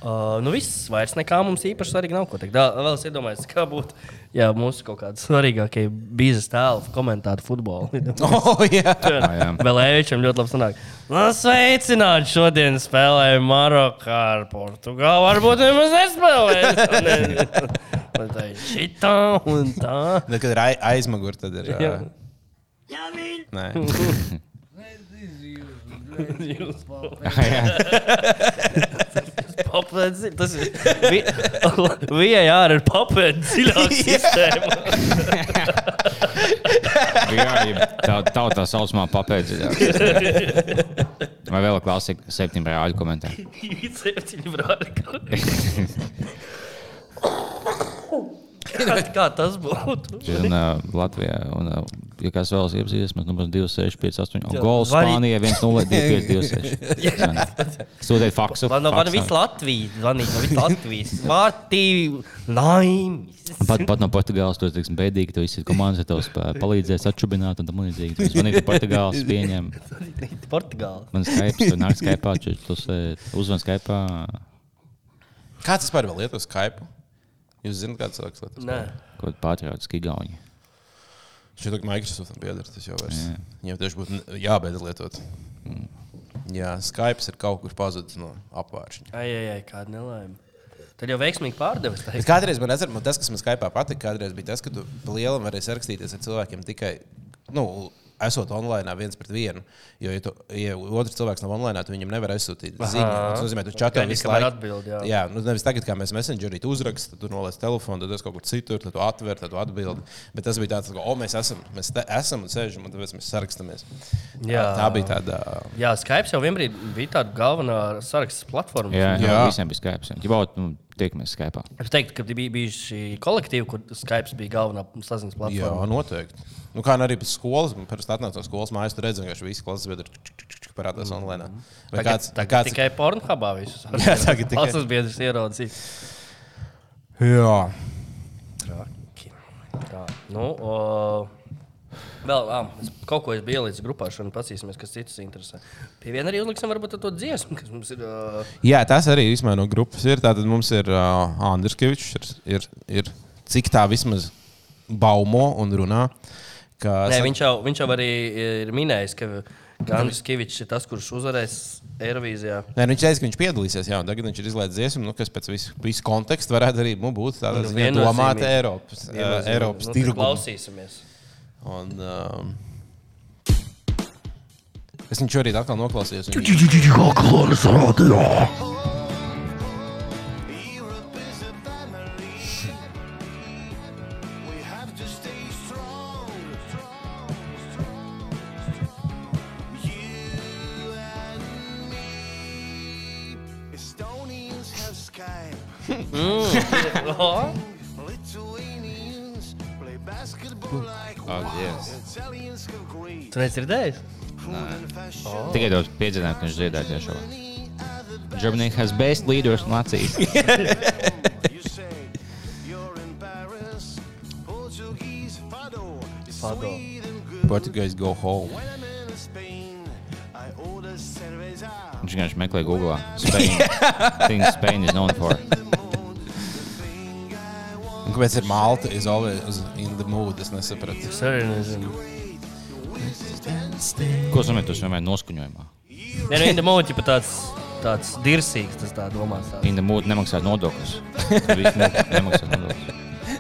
[SPEAKER 3] Uh, nu viss, vairs nekā mums īpaši svarīgi nav ko teikt. Dā, vēl es iedomājos, kā būtu, ja mūsu kaut kāda svarīgākie biznesa tēli komentētu futbolu.
[SPEAKER 2] Oh, jā.
[SPEAKER 4] jā.
[SPEAKER 3] Vēl ēvičam ļoti labi sanāk. Nu, sveicināt, šodien spēlēja Marokā ar Portugālu. Varbūt nemaz nespēlēja. Vai Tā ir šitā un tā.
[SPEAKER 2] Tad, Nu, kad ir ai- aizmugure, tad ir.
[SPEAKER 3] Jā.
[SPEAKER 2] ā, Nē,
[SPEAKER 3] Papēdzi, tas ir. Vijai ārā ir papēdzi dziļāk sistēma.
[SPEAKER 4] <laughs> Jā, ja tā tautā saucamā <laughs> papēdzījā. Vai vēl klasika septiņu brāļu komentēju?
[SPEAKER 3] Septiņi brāļi. Kā, kā tas būtu?
[SPEAKER 4] Un, uh, Latvijā, un, uh, ja kāds vēlas iepazīties, mēs numurs 2658.
[SPEAKER 3] Jā,
[SPEAKER 4] Gols
[SPEAKER 3] vai-
[SPEAKER 4] Spānijā
[SPEAKER 3] <laughs>
[SPEAKER 4] 1-0-2-5-26. Sūtiet faksu.
[SPEAKER 3] Man no
[SPEAKER 4] faksam.
[SPEAKER 3] visas Latvijas zvanīja, no visas Latvijas. Vārtī, laimis.
[SPEAKER 4] Pat, pat no Portugāles tur ir bēdīgi, ka visi komandas tev spē- palīdzēs atšubināt un tam līdzīgi. Tu Zvanīt no Portugāles, pieņem.
[SPEAKER 3] Portugāla.
[SPEAKER 4] Man Skype, tur nāk Skype, tur uzvan Skype.
[SPEAKER 2] kāds vispār vēl lieto Skype? Jūs zināt, kāds cilvēks lieto?
[SPEAKER 3] Nē,
[SPEAKER 4] Kaut patriots, gigauņi.
[SPEAKER 2] Šī tā kā Microsoftam pieder, tas jau vairs. Viņam tieši būtu n- jābeidz lietot. Jā, Skype ir kaut kur pazudis no apgāršņa.
[SPEAKER 3] ai, ai, ai kāda nelaime. Tad jau veiksmīgi pārdevis.
[SPEAKER 2] Es kādreiz man atceros, man tas, kas man Skype patika, kādreiz bija tas, ka tu lielam varēji sarakstīties ar cilvēkiem tikai. Nu, Esot online viens pret vienu, jo, ja, tu, ja otrs cilvēks nav online, tad viņam nevar aizsūtīt ziņu.
[SPEAKER 3] Aha.
[SPEAKER 2] Tas nozīmē, ka tu čatā
[SPEAKER 3] Gaidi,
[SPEAKER 2] visu
[SPEAKER 3] kamēr
[SPEAKER 2] laiku
[SPEAKER 3] atbild, jā.
[SPEAKER 2] jā nu, nevis tagad, kā mēs messengerī tu uzrakst, tad tu noliec telefonu, tad es kaut kur citur, tad tu atver, tad tu atbildi. Bet tas bija tāds, ka, o, mēs esam, mēs te esam un sēžam, un tāpēc mēs sarakstamies.
[SPEAKER 3] Jā.
[SPEAKER 2] Tā bija tāda.
[SPEAKER 3] Jā, Skype jau vienbrīd bija tāda galvenā saraksta platforma.
[SPEAKER 4] Jā, jā.
[SPEAKER 2] Jā.
[SPEAKER 4] visiem bija Skype. Ja baut, nu, tiekamies Skype.
[SPEAKER 3] Es teiktu, ka bija bijusi kolektīva, kur Skype bija galvenā saziņas
[SPEAKER 2] Jā,
[SPEAKER 3] platforma.
[SPEAKER 2] noteikti. Nu, kā arī pēc skolas, man parasti atnāca no skolas mājās, tur redzēja, ka visi klases biedri čuk, čuk, čuk, čuk parādās online. Vai
[SPEAKER 3] Mhm. Tagad-
[SPEAKER 2] kāds,
[SPEAKER 3] tagad
[SPEAKER 2] kāds
[SPEAKER 3] tikai pornogrāfā visus
[SPEAKER 2] Jā, tagad tikai.
[SPEAKER 3] tas biedrs ieraudzīs.
[SPEAKER 2] Jā,
[SPEAKER 3] Tā, nu, o, vēl ā, es kaut ko es biju ielicis grupā, šodien pasīsimies, kas citus interesē. Pie viena arī uzliksim varbūt to dziesmu, kas mums ir. ā,
[SPEAKER 2] Jā, tas arī vismaz no grupas ir. Tātad mums ir uh, Andris Kavičs, ir, ir, ir cik tā vismaz baumo un runā. ka
[SPEAKER 3] Nē,
[SPEAKER 2] sa-
[SPEAKER 3] viņš jau, viņš jau arī eh, ir minējis, ka Gandrija Kavičs ir tas, kurš uzvarēs Eirovīzijā.
[SPEAKER 2] Nē, nu viņš teica, ka viņš piedalīsies, jā, un tagad viņš ir izlaidis dziesmu, nu, kas pēc visu, visu kontekstu varētu arī nu, būt tāda
[SPEAKER 3] Nu,
[SPEAKER 2] nu,
[SPEAKER 3] viennozīmīgi.
[SPEAKER 2] domāta Eiropas, uh,
[SPEAKER 3] Vienmēr-
[SPEAKER 2] Eiropas
[SPEAKER 3] nu,
[SPEAKER 2] nu,
[SPEAKER 3] tad
[SPEAKER 2] tirgu.
[SPEAKER 3] Klausīsimies.
[SPEAKER 2] Un, um, es viņu šorīt atkal noklausījos. un viņš-
[SPEAKER 1] Europe is a family. We have to stay strong. strong, strong, strong. You and me. Estonians have Skype. Lithuanians play basketball like
[SPEAKER 4] Oh,
[SPEAKER 1] wow.
[SPEAKER 4] yes.
[SPEAKER 1] Italians have great
[SPEAKER 3] Tu neesi dzirdējis?
[SPEAKER 1] food and fashion.
[SPEAKER 4] Tikai tos piedzināt, ka viņš dziedāja tiešo. Germany has best leaders in Latvijas.
[SPEAKER 1] you say you're in Paris. Portuguese fado is
[SPEAKER 3] Fado.
[SPEAKER 1] sweet and
[SPEAKER 2] Portuguese go home.
[SPEAKER 1] When I'm in Spain, I order cerveza.
[SPEAKER 4] Viņš vienkārši meklē Google. Spain. Things Spain is known for.
[SPEAKER 2] Un kāpēc ir Malta? Is always in the mood. Es nesapratu.
[SPEAKER 3] Es arī nezinu.
[SPEAKER 4] Ko nozīmē tas vienmēr noskuņojumā?
[SPEAKER 3] Nē, nu, Inda Mūķi pat tāds, tāds dirsīgs, tas tā domās. Tāds.
[SPEAKER 4] Inda mūte nemaksā nodokļus. Tur viss mūte Nemaksā nodokļus.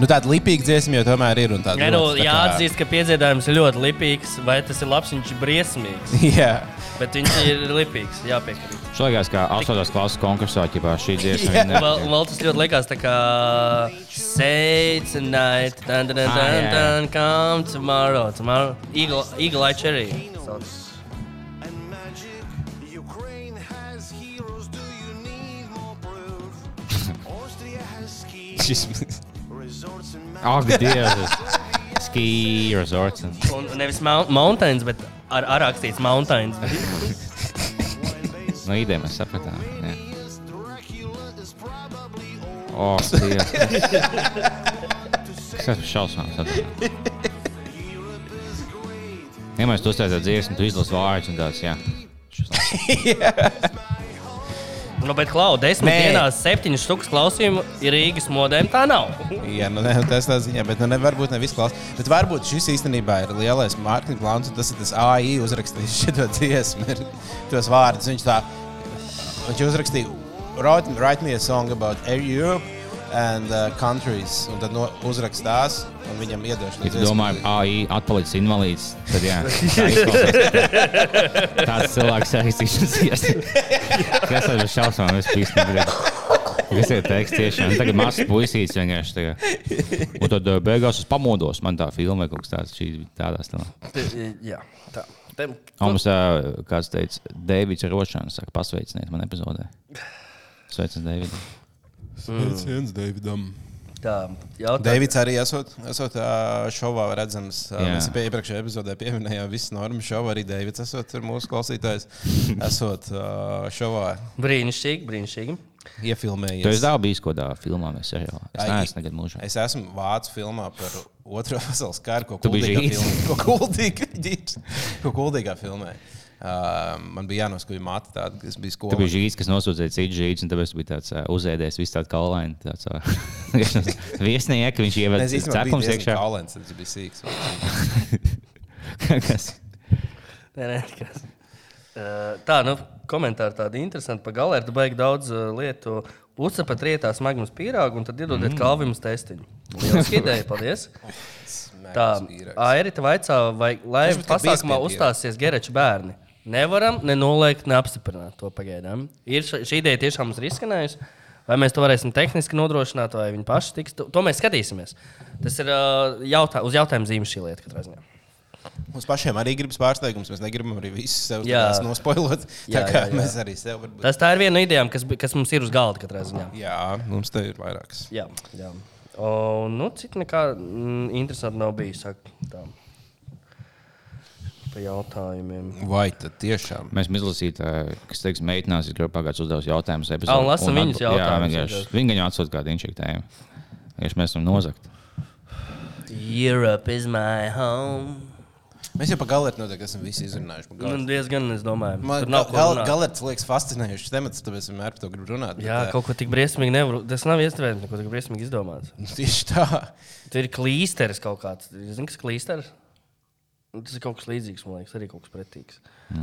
[SPEAKER 2] Nu, tāda lipīga dziesma jau tomēr ir. un tāda
[SPEAKER 3] Nē, nu,
[SPEAKER 2] ļoti tā kā-
[SPEAKER 3] jāatzīst, ka piedziedājums ir ļoti lipīgs, vai tas ir labs, viņš ir briesmīgs.
[SPEAKER 2] <laughs> Jā,
[SPEAKER 3] Bet viņš ir lipīgs, jāpiekrīt.
[SPEAKER 4] Šlagās kā 8. klases konkursā, ja šī dziesma
[SPEAKER 2] Jā.
[SPEAKER 4] ir
[SPEAKER 3] Un Vēl, un vēl tas ļoti likās, tā kā eh, Sēdzināt, dun, dun, dun,
[SPEAKER 4] Ah, jā,
[SPEAKER 3] dun,
[SPEAKER 4] jā.
[SPEAKER 3] dun, come tomorrow, tomorrow. Eagle Eagle Eye Cherry. sauc.
[SPEAKER 1] And magic, Ukraine has heroes. Do you need more
[SPEAKER 4] <laughs>
[SPEAKER 1] proof? Austria has ski
[SPEAKER 4] Šis
[SPEAKER 1] resorts and
[SPEAKER 4] Ak,
[SPEAKER 1] magic.
[SPEAKER 4] Dievs! Ski resorts.
[SPEAKER 3] Un
[SPEAKER 4] un-
[SPEAKER 3] nevis mou- mountains, bet ar, ar rakstīts mountains. <laughs>
[SPEAKER 4] No idejām mēs sapratām. jā.
[SPEAKER 1] Yes, Dracula is probably old.
[SPEAKER 4] O, Dievs! Kas tas par šausmām? sapratām. Ja mēs tu uztaisām dziesmu, tu izlasi vārdus un tāds, jā. Šis labs.
[SPEAKER 3] Nu, bet, Klau, desmit
[SPEAKER 2] Nē.
[SPEAKER 3] dienās, septiņas stūks klausījumu ir Rīgas modēm. Tā nav.
[SPEAKER 2] jā nu, <laughs> ne, tas tā ziņā, bet nu, ne, varbūt ne viss klausās. Bet varbūt šis īstenībā ir lielais mārketinga plāns, un tas ir tas AI uzrakstījis šo dziesmu, ir tos vārdus. Viņš tā, viņš uzrakstīja, write, write me a song about Europe and uh, countries, un tad no, uzrakstās, un viņam iedošu.
[SPEAKER 4] Ja tu domā, ka AI atpalicis invalīds, tad jā. <laughs> tā izklausās. Tāds cilvēks saistīšanas iestādes. Kas tas par šausmām? Es pīstu. Visi ir teksti tiešām. Nu, Tagad mazs puisīts vienkārši. Tagad. Un tad eh, beigās es pamodos. Man tā filma kaut kas tāds. Šī bija tādā stāvā.
[SPEAKER 3] Jā, tā. Tem-
[SPEAKER 4] Un mums ā, kāds teica, Deivids Rošāns, saka, pasveiciniet man epizodē. Sveicins, Deivids.
[SPEAKER 2] Sveiciens Davidam.
[SPEAKER 3] Tā, jautājums.
[SPEAKER 2] Deivids arī esot, esot ā, šovā redzams. ā,
[SPEAKER 4] Jā.
[SPEAKER 2] Mēs jau iepriekšējā epizodē pieminējām, visas normas šovā arī Deivids esot tur mūsu klausītājs. Esot ā, šovā
[SPEAKER 3] Brīnišķīgi, brīnišķīgi.
[SPEAKER 4] Tu esi
[SPEAKER 2] iefilmējies.
[SPEAKER 4] daudz bijis kādā filmā vai seriālā. Es
[SPEAKER 2] Ai,
[SPEAKER 4] neesmu nekad mūžā.
[SPEAKER 2] Es esmu vācu filmā par otro <laughs> pasaules karu, ko
[SPEAKER 4] Tu biji
[SPEAKER 2] kuldīgā
[SPEAKER 4] žīds?
[SPEAKER 2] filmē- ko kuldīgā <laughs> ģīts, ko kuldīgā filmē. Uh, man bija jānoskūpja māte, tāda, kas bija
[SPEAKER 4] Tu biji
[SPEAKER 2] skolā.
[SPEAKER 4] žīts, kas nosūdzēja citu žītu, un tāpēc tu biji tāds uh, uzēdies, viss tāds kaulaini. Tāds <laughs> uh, viesnieks, viņš ievada
[SPEAKER 2] Es īstenībā
[SPEAKER 4] cepums
[SPEAKER 2] biju
[SPEAKER 4] iekšā.
[SPEAKER 2] kaulēns, tas bija sīks.
[SPEAKER 4] <laughs> Kas?
[SPEAKER 3] Nē, nē, kas. Eh, Tā, nu, komentāri tādi interesanti. Pagalē ir baigi daudz eh, lietu. Uzcepat rietā smagumu pīrāgu un tad iedodiet mm. kalvim uz testiņu. Lieliski ideja, paldies. Tā, Airita vaicā, vai
[SPEAKER 2] Viņš
[SPEAKER 3] laivas
[SPEAKER 2] pat bija pie
[SPEAKER 3] pasākumā
[SPEAKER 2] pīrāga.
[SPEAKER 3] uzstāsies Gereča bērni. Nevaram ne noliegt, ne apstiprināt to pagaidām. Ir, ša- šī ideja tiešām mums ir izskanējusi. Vai mēs to varēsim tehniski nodrošināt, vai viņi paši tiks. To, to mēs skatīsimies. Tas ir eh, jautā, uz jautājuma zīmes šī lieta katrā ziņā.
[SPEAKER 2] Mums pašiem arī gribas pārsteigums. Mēs negribam arī visus sev
[SPEAKER 3] Jā.
[SPEAKER 2] tādās nospoilot. Tā
[SPEAKER 3] Jā,
[SPEAKER 2] kā
[SPEAKER 3] jā, jā.
[SPEAKER 2] mēs arī sev varbūt.
[SPEAKER 3] Tas tā ir viena no idejām, kas, bi- kas mums ir uz galda katrā ziņā.
[SPEAKER 2] Jā, mums te ir vairākas.
[SPEAKER 3] Jā, jā. Un nu, cik nekā mm, interesanti nav bijis. Saka, tā. pa jautājumiem.
[SPEAKER 2] Vai tad tiešām?
[SPEAKER 4] Mēs izlasījām, kas teiks, meitenās ir pagājušas uzdevusi jautājumus.
[SPEAKER 3] Ā, un lasam viņas jautājumus
[SPEAKER 4] jautājumus.
[SPEAKER 3] vienkārši.
[SPEAKER 4] Viņi jau atsūta kādu inšektējumu. Tieši mēs esam nozagti.
[SPEAKER 3] Europe is my home.
[SPEAKER 2] Mēs jau par galeriju noteikti esam visi izrunājuši. par
[SPEAKER 3] Nu,
[SPEAKER 2] Galertu.
[SPEAKER 3] diezgan, es domāju,
[SPEAKER 2] Man
[SPEAKER 3] tur nav ko runāt.
[SPEAKER 2] galerijas liekas fascinējošs temats, tāpēc vienmēr par to gribu runāt. bet,
[SPEAKER 3] Jā,
[SPEAKER 2] ā,
[SPEAKER 3] kaut ko tik briesmīgi nevar. Tas nav iespējams, neko tik briesmīgi izdomāts.
[SPEAKER 2] nu, Tieši tā.
[SPEAKER 3] Tur ir klīsteris kaut kāds. Zini, kas klīsteris? Nu, Tas ir kaut kas līdzīgs, man liekas, arī kaut kas pretīgs.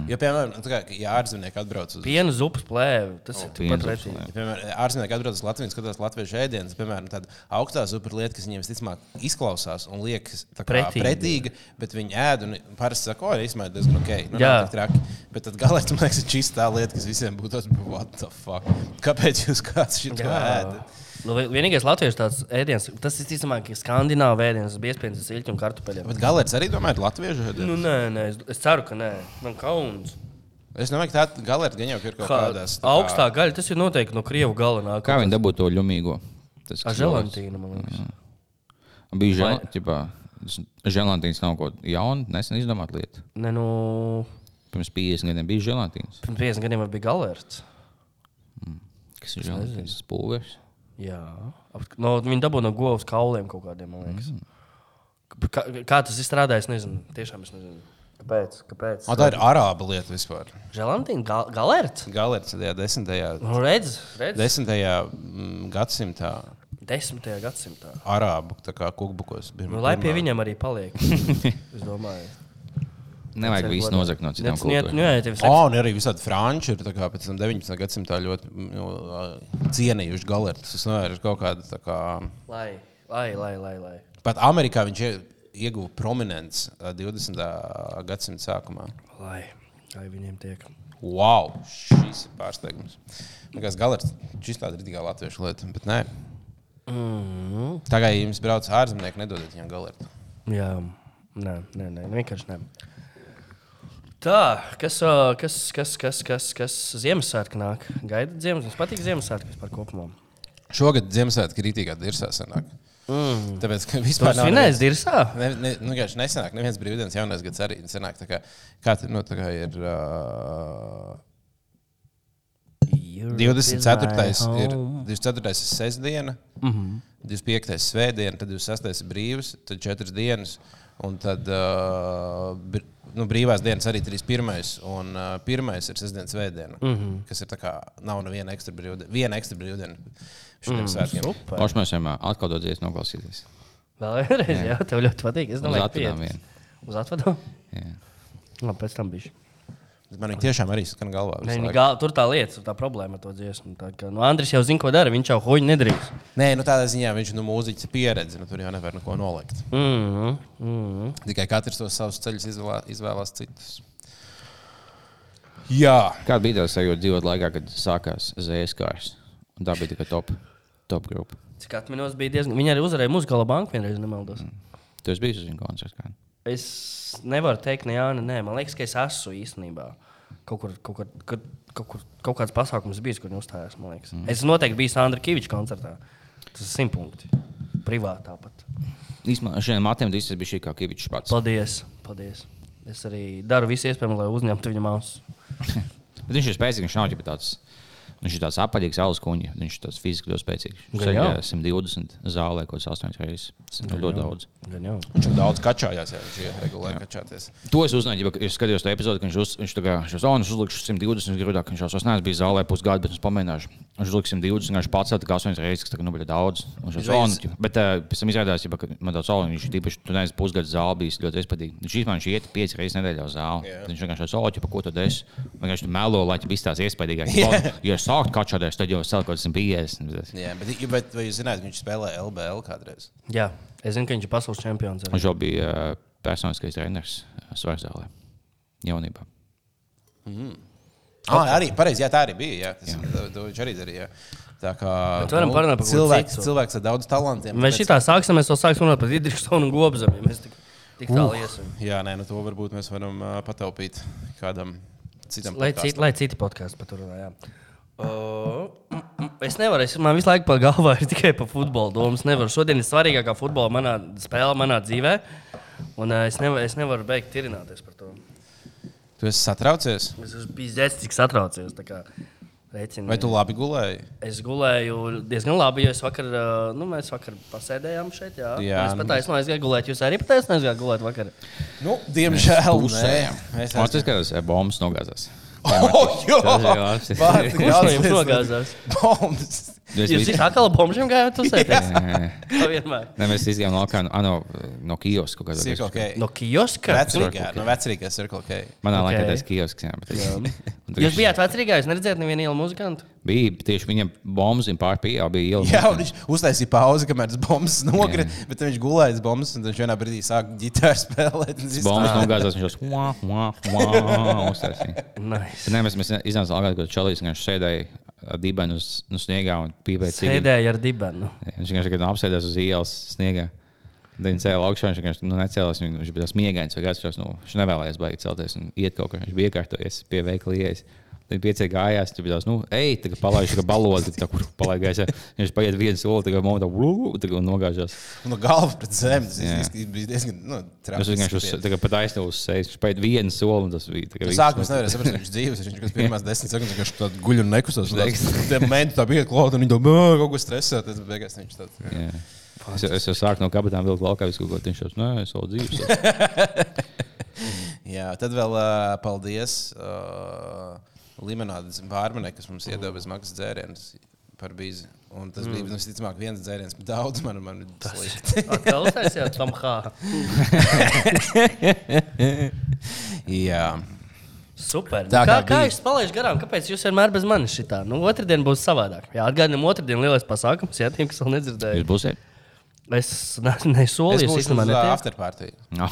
[SPEAKER 2] Jo, piemēram, nu, tā kā, ja ārzemnieki atbrauc uz
[SPEAKER 3] Piena zupas plēve. Tas ir
[SPEAKER 4] piena
[SPEAKER 3] tikpat
[SPEAKER 4] zupas
[SPEAKER 3] pretīgi.
[SPEAKER 2] Ja, piemēram, ārzemnieki atbrauc uz Latviju, skatās latviešu ēdienas, piemēram, tāda augstā zupa ir lieta, kas viņiem visticamāk izklausās un liekas tā kā
[SPEAKER 3] Pretīga.
[SPEAKER 2] pretīga, bet viņi ēd un parasti saka, o, īstenībā ir diezgan ok. Nu,
[SPEAKER 3] Jā.
[SPEAKER 2] nav tik traki. Bet tad galā tas man liekas, ka šī ir tā lieta, kas visiem būtu tas, what the fuck? Kāpēc jūs kāds šito ēdat?
[SPEAKER 3] Nu, vi- vienīgais latviešu tāds ēdiens, tas ir īstenībā skandināvu ēdiens, tas bija iespējams ar siļķu un kartupeļiem.
[SPEAKER 2] Bet galā arī domāju, ir latviešu ēdienu.
[SPEAKER 3] Nu, nē, nē, es, es ceru, ka nē. Man kauns.
[SPEAKER 2] Es domāju, ka tā galā ir gan jau ir kaut Nu,
[SPEAKER 3] Kā,
[SPEAKER 2] kādās. tā kā-
[SPEAKER 3] augstā gaļa, tas ir noteikti no krievu gala nāk.
[SPEAKER 4] Kā viņi dabūja to ļumīgo? Tas
[SPEAKER 3] Ar
[SPEAKER 4] kas
[SPEAKER 3] želantīnu, man liekas.
[SPEAKER 4] bija žēl. Žēlantīns nav kaut kāda jauna, nesen izdomāta lieta.
[SPEAKER 3] Nē, nu,
[SPEAKER 4] Pirms 50 gadiem bija žēlantīns.
[SPEAKER 3] pirms 50 gadiem jau bija galerts.
[SPEAKER 4] Kas ir žēlīgs? Spūvers.
[SPEAKER 3] Jā, Ap- no, viņi dabū no govs kauliem kaut kādiem, man liekas. Kā, kā tas izstrādā, es nezinu. Tiešām es nezinu. Kāpēc? Kāpēc?
[SPEAKER 2] O, Ah, tā ir arāba lieta vispār.
[SPEAKER 3] Žēlantīna gal galerts.
[SPEAKER 2] Galērts tajā desmitajā,
[SPEAKER 3] Nu, redz, redz. Des
[SPEAKER 2] desmitajā mm, gadsimtā
[SPEAKER 3] desmitajā gadsimtā.
[SPEAKER 2] arābu tā kā kukbukos bija.
[SPEAKER 3] Nu, lai pie viņiem arī
[SPEAKER 4] <laughs>
[SPEAKER 3] paliek. es domāju. nu,
[SPEAKER 4] Nevajag visu nozagt no citām kultūrām.
[SPEAKER 3] kultūrām.
[SPEAKER 2] Oh, un arī visādi franči ir tā kā, pēc tam 19. gadsimtā ļoti mm, nu, ā, cienījuši galertus. Es nezinu, ir kaut kāda tā kā.
[SPEAKER 3] Lai, lai, lai, lai. lai.
[SPEAKER 2] Pat Amerikā viņš ie- ieguva prominents ā, 20. gadsimta sākumā.
[SPEAKER 3] lai. Lai viņiem tiek.
[SPEAKER 2] Wow, šis ir pārsteigums. Man liekas, galerts, šis tāds ir tikai latviešu lieta, bet nē. Mm.
[SPEAKER 3] Mhm.
[SPEAKER 2] Tā kā jums brauc ārzemnieki, nedodiet viņam galertu.
[SPEAKER 3] Jā, nē, nē, nē vienkārši nē. Tā, kas, ā, kas, kas, kas, kas, kas Ziemassvētku nāk? Gaida Ziemassvētku. Man patīk Ziemassvētku vispār kopumā.
[SPEAKER 2] Šogad Ziemassvētku kritīgā dirsā sanāk. Mm.
[SPEAKER 3] Mhm.
[SPEAKER 2] Tāpēc, ka vispār
[SPEAKER 3] Tas
[SPEAKER 2] nav
[SPEAKER 3] svinēs dirsā.
[SPEAKER 2] Ne, ne, nu, vienkārši nesenāk, neviens brīvdienas jaunais gads arī nesenāk. Tā kā, kā, tur, nu, tā kā ir uh, 24. ir 24. ir sestdiena, mm -hmm. 25. ir svētdiena, tad 26. ir brīvs, tad 4 dienas. Un tad uh, br nu, brīvās dienas arī 31. un uh, 1. ir sestdienas svētdiena, mm -hmm. kas ir tā kā nav neviena ekstra brīvdiena. Viena ekstra brīvdiena šiem mm, svētkiem.
[SPEAKER 4] Pašmēs vienmēr atkal doties noklausīties.
[SPEAKER 3] Vēlreiz, jā, tev ļoti patīk. Es
[SPEAKER 4] Uz
[SPEAKER 3] domāju,
[SPEAKER 4] atvadām
[SPEAKER 3] piec.
[SPEAKER 4] vien.
[SPEAKER 3] Uz atvadām.
[SPEAKER 4] Jā.
[SPEAKER 3] Labi, pēc tam bišķi.
[SPEAKER 2] Man viņa tiešām arī skan galvā. visu
[SPEAKER 3] Ne,
[SPEAKER 2] laiku.
[SPEAKER 3] viņa gal, nu, tur tā lieta, tā problēma ar to dziesmu. Tā Kā, nu, Andris jau zina, ko dara. Viņš jau hoņu nedrīkst.
[SPEAKER 2] Nē, nu tādā ziņā viņš nu, mūziķis ir pieredzējis. Nu, tur jau nevar neko nolikt.
[SPEAKER 3] Mm -hmm. Mm -hmm.
[SPEAKER 2] Tikai katrs tos savus ceļus izvēlē, izvēlās citus. Jā,
[SPEAKER 4] Kāda bija tā sajūta dzīvot laikā, kad sākās zēskārs? Un tā bija tikai top, top grupa.
[SPEAKER 3] Cik atminos, bija diezgan. Viņa arī uzvarēja Musgala banku vienreiz, nemaldos. Mm.
[SPEAKER 4] Tu esi bijis uz viņu koncertu. kā?
[SPEAKER 3] Es nevaru teikt, ne, jā, ne, nē, man liekas, ka es esmu īstenībā. Kaut kur, kaut kur, kaut, kaut kur kaut kāds pasākums bijis, kur viņi uzstājās. man liekas. Mm. Es noteikti biju Andriņš Kavičs koncertā. Tas ir simtpunkti. Privātā pat.
[SPEAKER 4] Īsumā šodien matiem tas bija šī kā Kavičs pats.
[SPEAKER 3] Paldies! paldies. Es arī daru visu iespējamo, lai uzņemtu viņa māsu.
[SPEAKER 4] Bet viņš ir spēcīgs, viņš nav ģip tāds. Viņš ir tāds apaļīgs, alus kuņģis. Viņš ir tāds fiziski ļoti spēcīgs. Viņš
[SPEAKER 3] Gan
[SPEAKER 4] ir
[SPEAKER 3] jau.
[SPEAKER 4] 120 zālē, ko 8 reizes. Tas ir ļoti daudz.
[SPEAKER 3] Gan jau.
[SPEAKER 2] viņš jau daudz kačājās, ja viņš ir regulāri kačāties.
[SPEAKER 4] To es uzzināju, ja es skatījos to episodu, ka viņš, uz, viņš tā kā šos onus uzlika 120 grūtāk. Viņš jau sasniedz, bija zālē pusgadu, bet es pamēģināju. Viņš uzlika 120, un viņš pats tā kā 8 reizes, kas tā kā nu bija daudz. Un šos
[SPEAKER 2] Reiz.
[SPEAKER 4] onus, bet uh, pēc tam izrādās, ja, ka man daudz onus, viņš tīpaši tur nezinu, pusgadu zālē bijis ļoti iespaidīgi. Viņš īstenībā viņš iet 5 reizes nedēļā uz zāli.
[SPEAKER 2] Jā.
[SPEAKER 4] Tad Viņš vienkārši saka, pa ko tu desi. Vienkārši tu melo, lai tu biji tās iespaidīgākās. Yeah. Ja sākt kačādēs, tad jau sākt kaut kas 150.
[SPEAKER 2] Jā, bet, bet vai jūs zināt, viņš spēlēja LBL kādreiz?
[SPEAKER 3] Jā, es zinu, ka viņš ir pasaules čempions. arī.
[SPEAKER 4] Viņš jau bija uh, personiskais treneris uh, svarzālē jaunībā.
[SPEAKER 2] Ah, arī pareizi, jā, tā arī bija. Jā, tas, jā. To viņš arī darīja. jā. Tā kā nu,
[SPEAKER 3] Bet varam parunāt par ko
[SPEAKER 2] cilvēks,
[SPEAKER 3] citu.
[SPEAKER 2] cilvēks ar daudz talantiem.
[SPEAKER 3] Mēs
[SPEAKER 2] tāpēc-
[SPEAKER 3] šitā sāksim, mēs vēl sāksim runāt par Digitrisonu un Gobzemu. Ja mēs tik, tik tālu iesim.
[SPEAKER 2] Jā, nē, nu to varbūt mēs varam uh, pataupīt kādam citam.
[SPEAKER 3] Lai
[SPEAKER 2] podkastam.
[SPEAKER 3] citi, lai citi podkāstu par to runā. Uh, mm, mm, es nevaru, es, man visu laiku pa galvā ir tikai par futbolu domas. Nevaru. Šodien ir svarīgākā futbola manā spēlē, manā dzīvē. Un uh, es, nevaru, es nevaru beigt tirināties par to.
[SPEAKER 2] Tu esi satraucies?
[SPEAKER 3] Es esmu bijis dzirdējis, cik satraucies. tā kā Rēķini.
[SPEAKER 2] Vai tu labi gulēji?
[SPEAKER 3] Es gulēju diezgan labi, jo es vakar, uh, nu, mēs vakar pasēdējām šeit. Jā,
[SPEAKER 2] Jā,
[SPEAKER 3] Un es
[SPEAKER 2] nu,
[SPEAKER 3] pat aizsnu aizgāju gulēt. Jūs arī pat aizsnu aizgāju gulēt vakar.
[SPEAKER 2] <laughs> Nu, diemžēl.
[SPEAKER 4] pusē.
[SPEAKER 2] Mēs
[SPEAKER 4] Tas ir skatās, kā bombas nogāzās.
[SPEAKER 2] <laughs> Oh, jā,
[SPEAKER 4] Tas ir labi.
[SPEAKER 2] Vārds
[SPEAKER 3] Kurš no jums nogāzās?
[SPEAKER 2] Bombs.
[SPEAKER 4] Mēs
[SPEAKER 3] Jūs
[SPEAKER 4] bija-
[SPEAKER 3] esat atkal bombžiem gājot uz sēdes? <laughs>
[SPEAKER 4] Nē,
[SPEAKER 3] Tā vienmēr.
[SPEAKER 4] nē, mēs izgājām no, kā, no, no kioska. Kaut
[SPEAKER 2] Circle
[SPEAKER 4] kādā,
[SPEAKER 2] K.
[SPEAKER 3] No kioska?
[SPEAKER 2] Vecrīgā, no vecrīgā Circle K.
[SPEAKER 4] manā
[SPEAKER 3] Ok.
[SPEAKER 4] okay. laikā tas kiosks. Jā,
[SPEAKER 3] <laughs>
[SPEAKER 4] bet es- Un tad
[SPEAKER 3] Nu, Jūs
[SPEAKER 4] viņš
[SPEAKER 3] bijāt vecrīgā, jūs neredzējāt nevienu ielu muzikantu.
[SPEAKER 4] bija tieši viņam bombas un pārpījā bija iela.
[SPEAKER 2] Jā, un viņš uztaisīja pauzi, kamēr tas bombas nogrita, bet tad viņš gulēja uz bombas, un viņš vienā brīdī sāka ģitāru spēlēt. un viss
[SPEAKER 4] Bombas
[SPEAKER 2] tā.
[SPEAKER 4] nogāzās, viņš jau wā, wā, wā,
[SPEAKER 3] <laughs>
[SPEAKER 4] uztaisīja.
[SPEAKER 3] Nice.
[SPEAKER 4] Tad Nē, mēs, mēs iznācām ārā, kad čalīs, viņš sēdēja ar dibenu uz, uz sniegā un pīpēja cigaretes.
[SPEAKER 3] Sēdēja ar dibenu.
[SPEAKER 4] Viņš vienkārši kad apsēdās uz ielas sniegā. Viņa cēlās augšā, viņš vienkārši nu, necēlās. Viņu, viņš bija tāds miegains, vai kāds nu, viņš nevēlējās baigt celties un iet kaut kur. Viņš bija iekārtojies pie veikla ielas. Tad pieci gājās, tur bija tāds, nu, ej, tā kā palaiž, tā kā balodzi, tā kur palaiž gaisā. Viņš paiet vienu soli, tā kā monta, uu, tā kā nogāžās.
[SPEAKER 2] Nu, galva pret zemi. Tas
[SPEAKER 4] Jā.
[SPEAKER 2] iz- iz- bija diezgan nu,
[SPEAKER 4] Tas vienkārši uz,
[SPEAKER 2] traki.
[SPEAKER 4] tā kā pat aizsnūs sejas, viņš paiet vienu soli un tas bija. tā kā viss nu,
[SPEAKER 2] Sākumā es
[SPEAKER 4] notiek.
[SPEAKER 2] nevarēju saprast, viņš dzīves. Viņš pēc pirmās desmit sekundes vienkārši tādu guļu un nekustos. un
[SPEAKER 4] Deiks.
[SPEAKER 2] tāds- Tie mēnesi tā bija klāta un viņi domā, "Ā, kaut ko stresē. Tad beigās viņš tāds.
[SPEAKER 4] Jā. Es, jau- es jau sāku no kabatām vilkt laukā visu kaut ko. Viņš jau nē, es vēl dzīvoju.
[SPEAKER 2] Jā, tad vēl uh, paldies uh, limonādes vārmenē, kas mums iedeva bez maksas dzērienus par bīzi. Un tas bija, visticamāk, viens dzēriens, bet daudz man, man Mm. tas likte.
[SPEAKER 3] Atkal uztaisījāt tam hā.
[SPEAKER 2] Jā.
[SPEAKER 3] Super.
[SPEAKER 2] Tā
[SPEAKER 3] Tā kā,
[SPEAKER 2] kā
[SPEAKER 3] kā
[SPEAKER 2] bija.
[SPEAKER 3] es palaidu garām, kāpēc jūs vienmēr bez manis šitā? Nu, otrdien būs savādāk. Jā, atgādinām, otrdien lielais pasākums, ja tiem, kas vēl
[SPEAKER 4] Jūs
[SPEAKER 3] nedzirdēja.
[SPEAKER 4] būsiet?
[SPEAKER 3] Es ne, nesolīju,
[SPEAKER 2] Es
[SPEAKER 3] es
[SPEAKER 2] būšu
[SPEAKER 3] īstenībā
[SPEAKER 2] uz
[SPEAKER 3] neteicu.
[SPEAKER 2] afterpartiju.
[SPEAKER 4] No.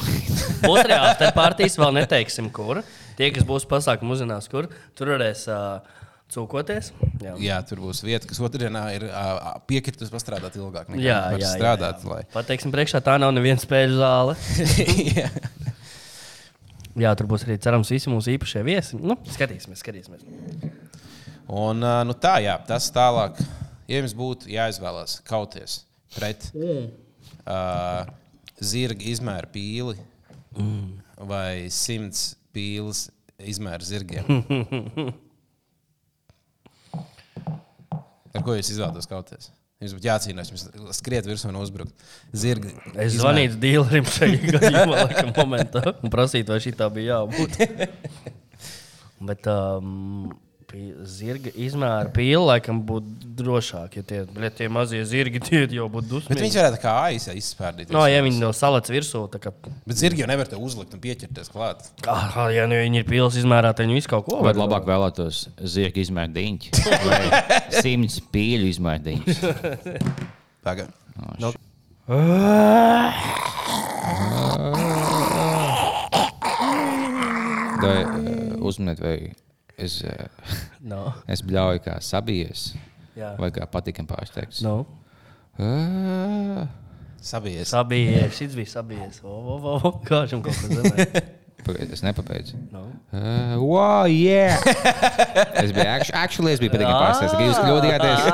[SPEAKER 3] Būs arī afterpartijas, vēl neteiksim, kur. Tie, kas būs pasākumā, uzzinās, kur. Tur varēs uh, cūkoties. Jā,
[SPEAKER 2] Jā, tur būs vieta, kas otrdienā ir ā, piekritusi pastrādāt ilgāk. nekā
[SPEAKER 3] jā,
[SPEAKER 2] var
[SPEAKER 3] jā, jā,
[SPEAKER 2] strādāt.
[SPEAKER 3] jā.
[SPEAKER 2] Lai...
[SPEAKER 3] Pateiksim, priekšā tā nav neviena spēļu zāle.
[SPEAKER 2] <laughs> jā.
[SPEAKER 3] Jā, tur būs arī cerams visi mūsu īpašie viesi. Nu, skatīsimies, skatīsimies.
[SPEAKER 2] Un, ā, nu tā, jā, tas tālāk. Ja jums būtu jāizvēlās kauties pret uh, zirga izmēru pīli vai simts pīles izmēru zirgiem, ar ko jūs izvēlaties kauties? Jums būtu jācīnās, jums skriet virsū un uzbrukt. Zirga.
[SPEAKER 3] Es
[SPEAKER 2] izmēru.
[SPEAKER 3] zvanīju dealerim
[SPEAKER 2] <laughs>
[SPEAKER 3] šajā gadījumā, laikam, momentā, un prasīju, vai šī tā
[SPEAKER 2] <laughs>
[SPEAKER 3] bija jābūt. Bet um, pie- zirga izmēra pīle laikam būtu drošāk, ja tie, ja tie mazie zirgi tie jau būtu
[SPEAKER 2] Bet
[SPEAKER 3] dusmīgi.
[SPEAKER 2] viņš varētu kā aizsākt, izspērdīt.
[SPEAKER 3] No, ja viņi no salas virsū, tā kā,
[SPEAKER 2] Bet zirgi jau nevar te uzlikt un pieķerties klāt.
[SPEAKER 3] kā ja nu viņi ir pils izmērā, tad viņi visu kaut ko
[SPEAKER 4] Vai labāk vēlētos zirga izmēra
[SPEAKER 3] <laughs>
[SPEAKER 4] diņķi vai simts pīļu izmēra diņķi?
[SPEAKER 2] Pagaid.
[SPEAKER 4] Vai eh, uzmanēt, vai es, eh,
[SPEAKER 3] No.
[SPEAKER 4] es bļauju kā sabijies
[SPEAKER 3] Jā.
[SPEAKER 4] vai kā patīkam pārsteigts?
[SPEAKER 3] No.
[SPEAKER 4] Eh,
[SPEAKER 2] Sabijies.
[SPEAKER 3] Sabijies, šis bija sabijies. O, o, o, o, Kā viņam kaut kas <laughs> zemē?
[SPEAKER 4] pagaid, Es nepabeidzu.
[SPEAKER 3] No.
[SPEAKER 4] Eh, Wow, yeah!
[SPEAKER 3] <laughs>
[SPEAKER 4] Es biju, actu- actually, es biju patīkam pārsteigts. Jūs kļūdījāties.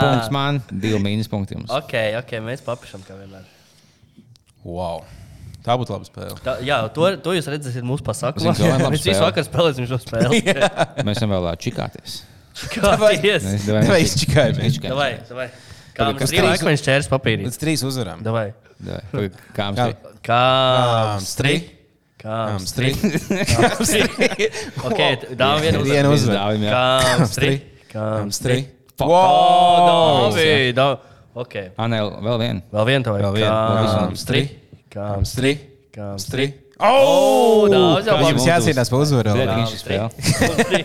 [SPEAKER 4] Punkts man, divi mīnus punkti jums.
[SPEAKER 3] Ah. Ok, ok, mēs papišam kā vienmēr.
[SPEAKER 2] Wow. Tā būtu laba spēle.
[SPEAKER 3] Tā, jā, to, to jūs redzēsiet mūsu pasākumā.
[SPEAKER 4] Zini, kā man labi
[SPEAKER 3] Mēs visu
[SPEAKER 4] spēle.
[SPEAKER 3] vakaru spēlēsim šo <laughs> spēli.
[SPEAKER 4] Mēs esam vēl
[SPEAKER 3] <laughs>
[SPEAKER 4] čikāties.
[SPEAKER 3] Kāpēc?
[SPEAKER 4] Mēs
[SPEAKER 2] Davai,
[SPEAKER 4] mēs čik-
[SPEAKER 2] čikājamies.
[SPEAKER 4] mēs čikājamies.
[SPEAKER 3] Davai, davai. Kā
[SPEAKER 4] Kas
[SPEAKER 3] mums trīs
[SPEAKER 4] trīs-
[SPEAKER 3] akmeņš čērs papīrī?
[SPEAKER 2] Līdz trīs uzvarām.
[SPEAKER 3] Davai.
[SPEAKER 4] Davai, pagaid, Kā mums
[SPEAKER 2] Kā-
[SPEAKER 4] te-
[SPEAKER 3] Kā mums
[SPEAKER 2] Kāms
[SPEAKER 3] trī?
[SPEAKER 2] tri?
[SPEAKER 3] Kā mums trī?
[SPEAKER 2] Trīs. <laughs>
[SPEAKER 3] Ok, dāvā <laughs> vienu uzvaru.
[SPEAKER 2] Vienu
[SPEAKER 4] Mēs
[SPEAKER 2] uzvaru.
[SPEAKER 4] dāvim, jā.
[SPEAKER 3] Kā mums trī?
[SPEAKER 2] trī?
[SPEAKER 3] Kā mums
[SPEAKER 2] Kāms
[SPEAKER 3] trī?
[SPEAKER 2] trī.
[SPEAKER 4] Fuck.
[SPEAKER 2] Wow!
[SPEAKER 3] Davai, davai. Ok.
[SPEAKER 4] Ā, nē, vēl vienu.
[SPEAKER 3] Vēl vienu
[SPEAKER 2] Vēl
[SPEAKER 3] tavai.
[SPEAKER 2] vienu.
[SPEAKER 3] Kā
[SPEAKER 2] Kā
[SPEAKER 3] mums
[SPEAKER 2] mums
[SPEAKER 3] trī?
[SPEAKER 2] trī?
[SPEAKER 3] Kā mums
[SPEAKER 2] Kāms trī.
[SPEAKER 3] Kā
[SPEAKER 2] <laughs>
[SPEAKER 3] mums
[SPEAKER 2] Kāms
[SPEAKER 3] trī?
[SPEAKER 2] trī. Oh!
[SPEAKER 3] daudz jau
[SPEAKER 2] Jums
[SPEAKER 4] labi.
[SPEAKER 2] jācīnās par uzvaru.
[SPEAKER 4] Ļoti
[SPEAKER 2] vēl.
[SPEAKER 4] viņš spēlē.
[SPEAKER 3] trī?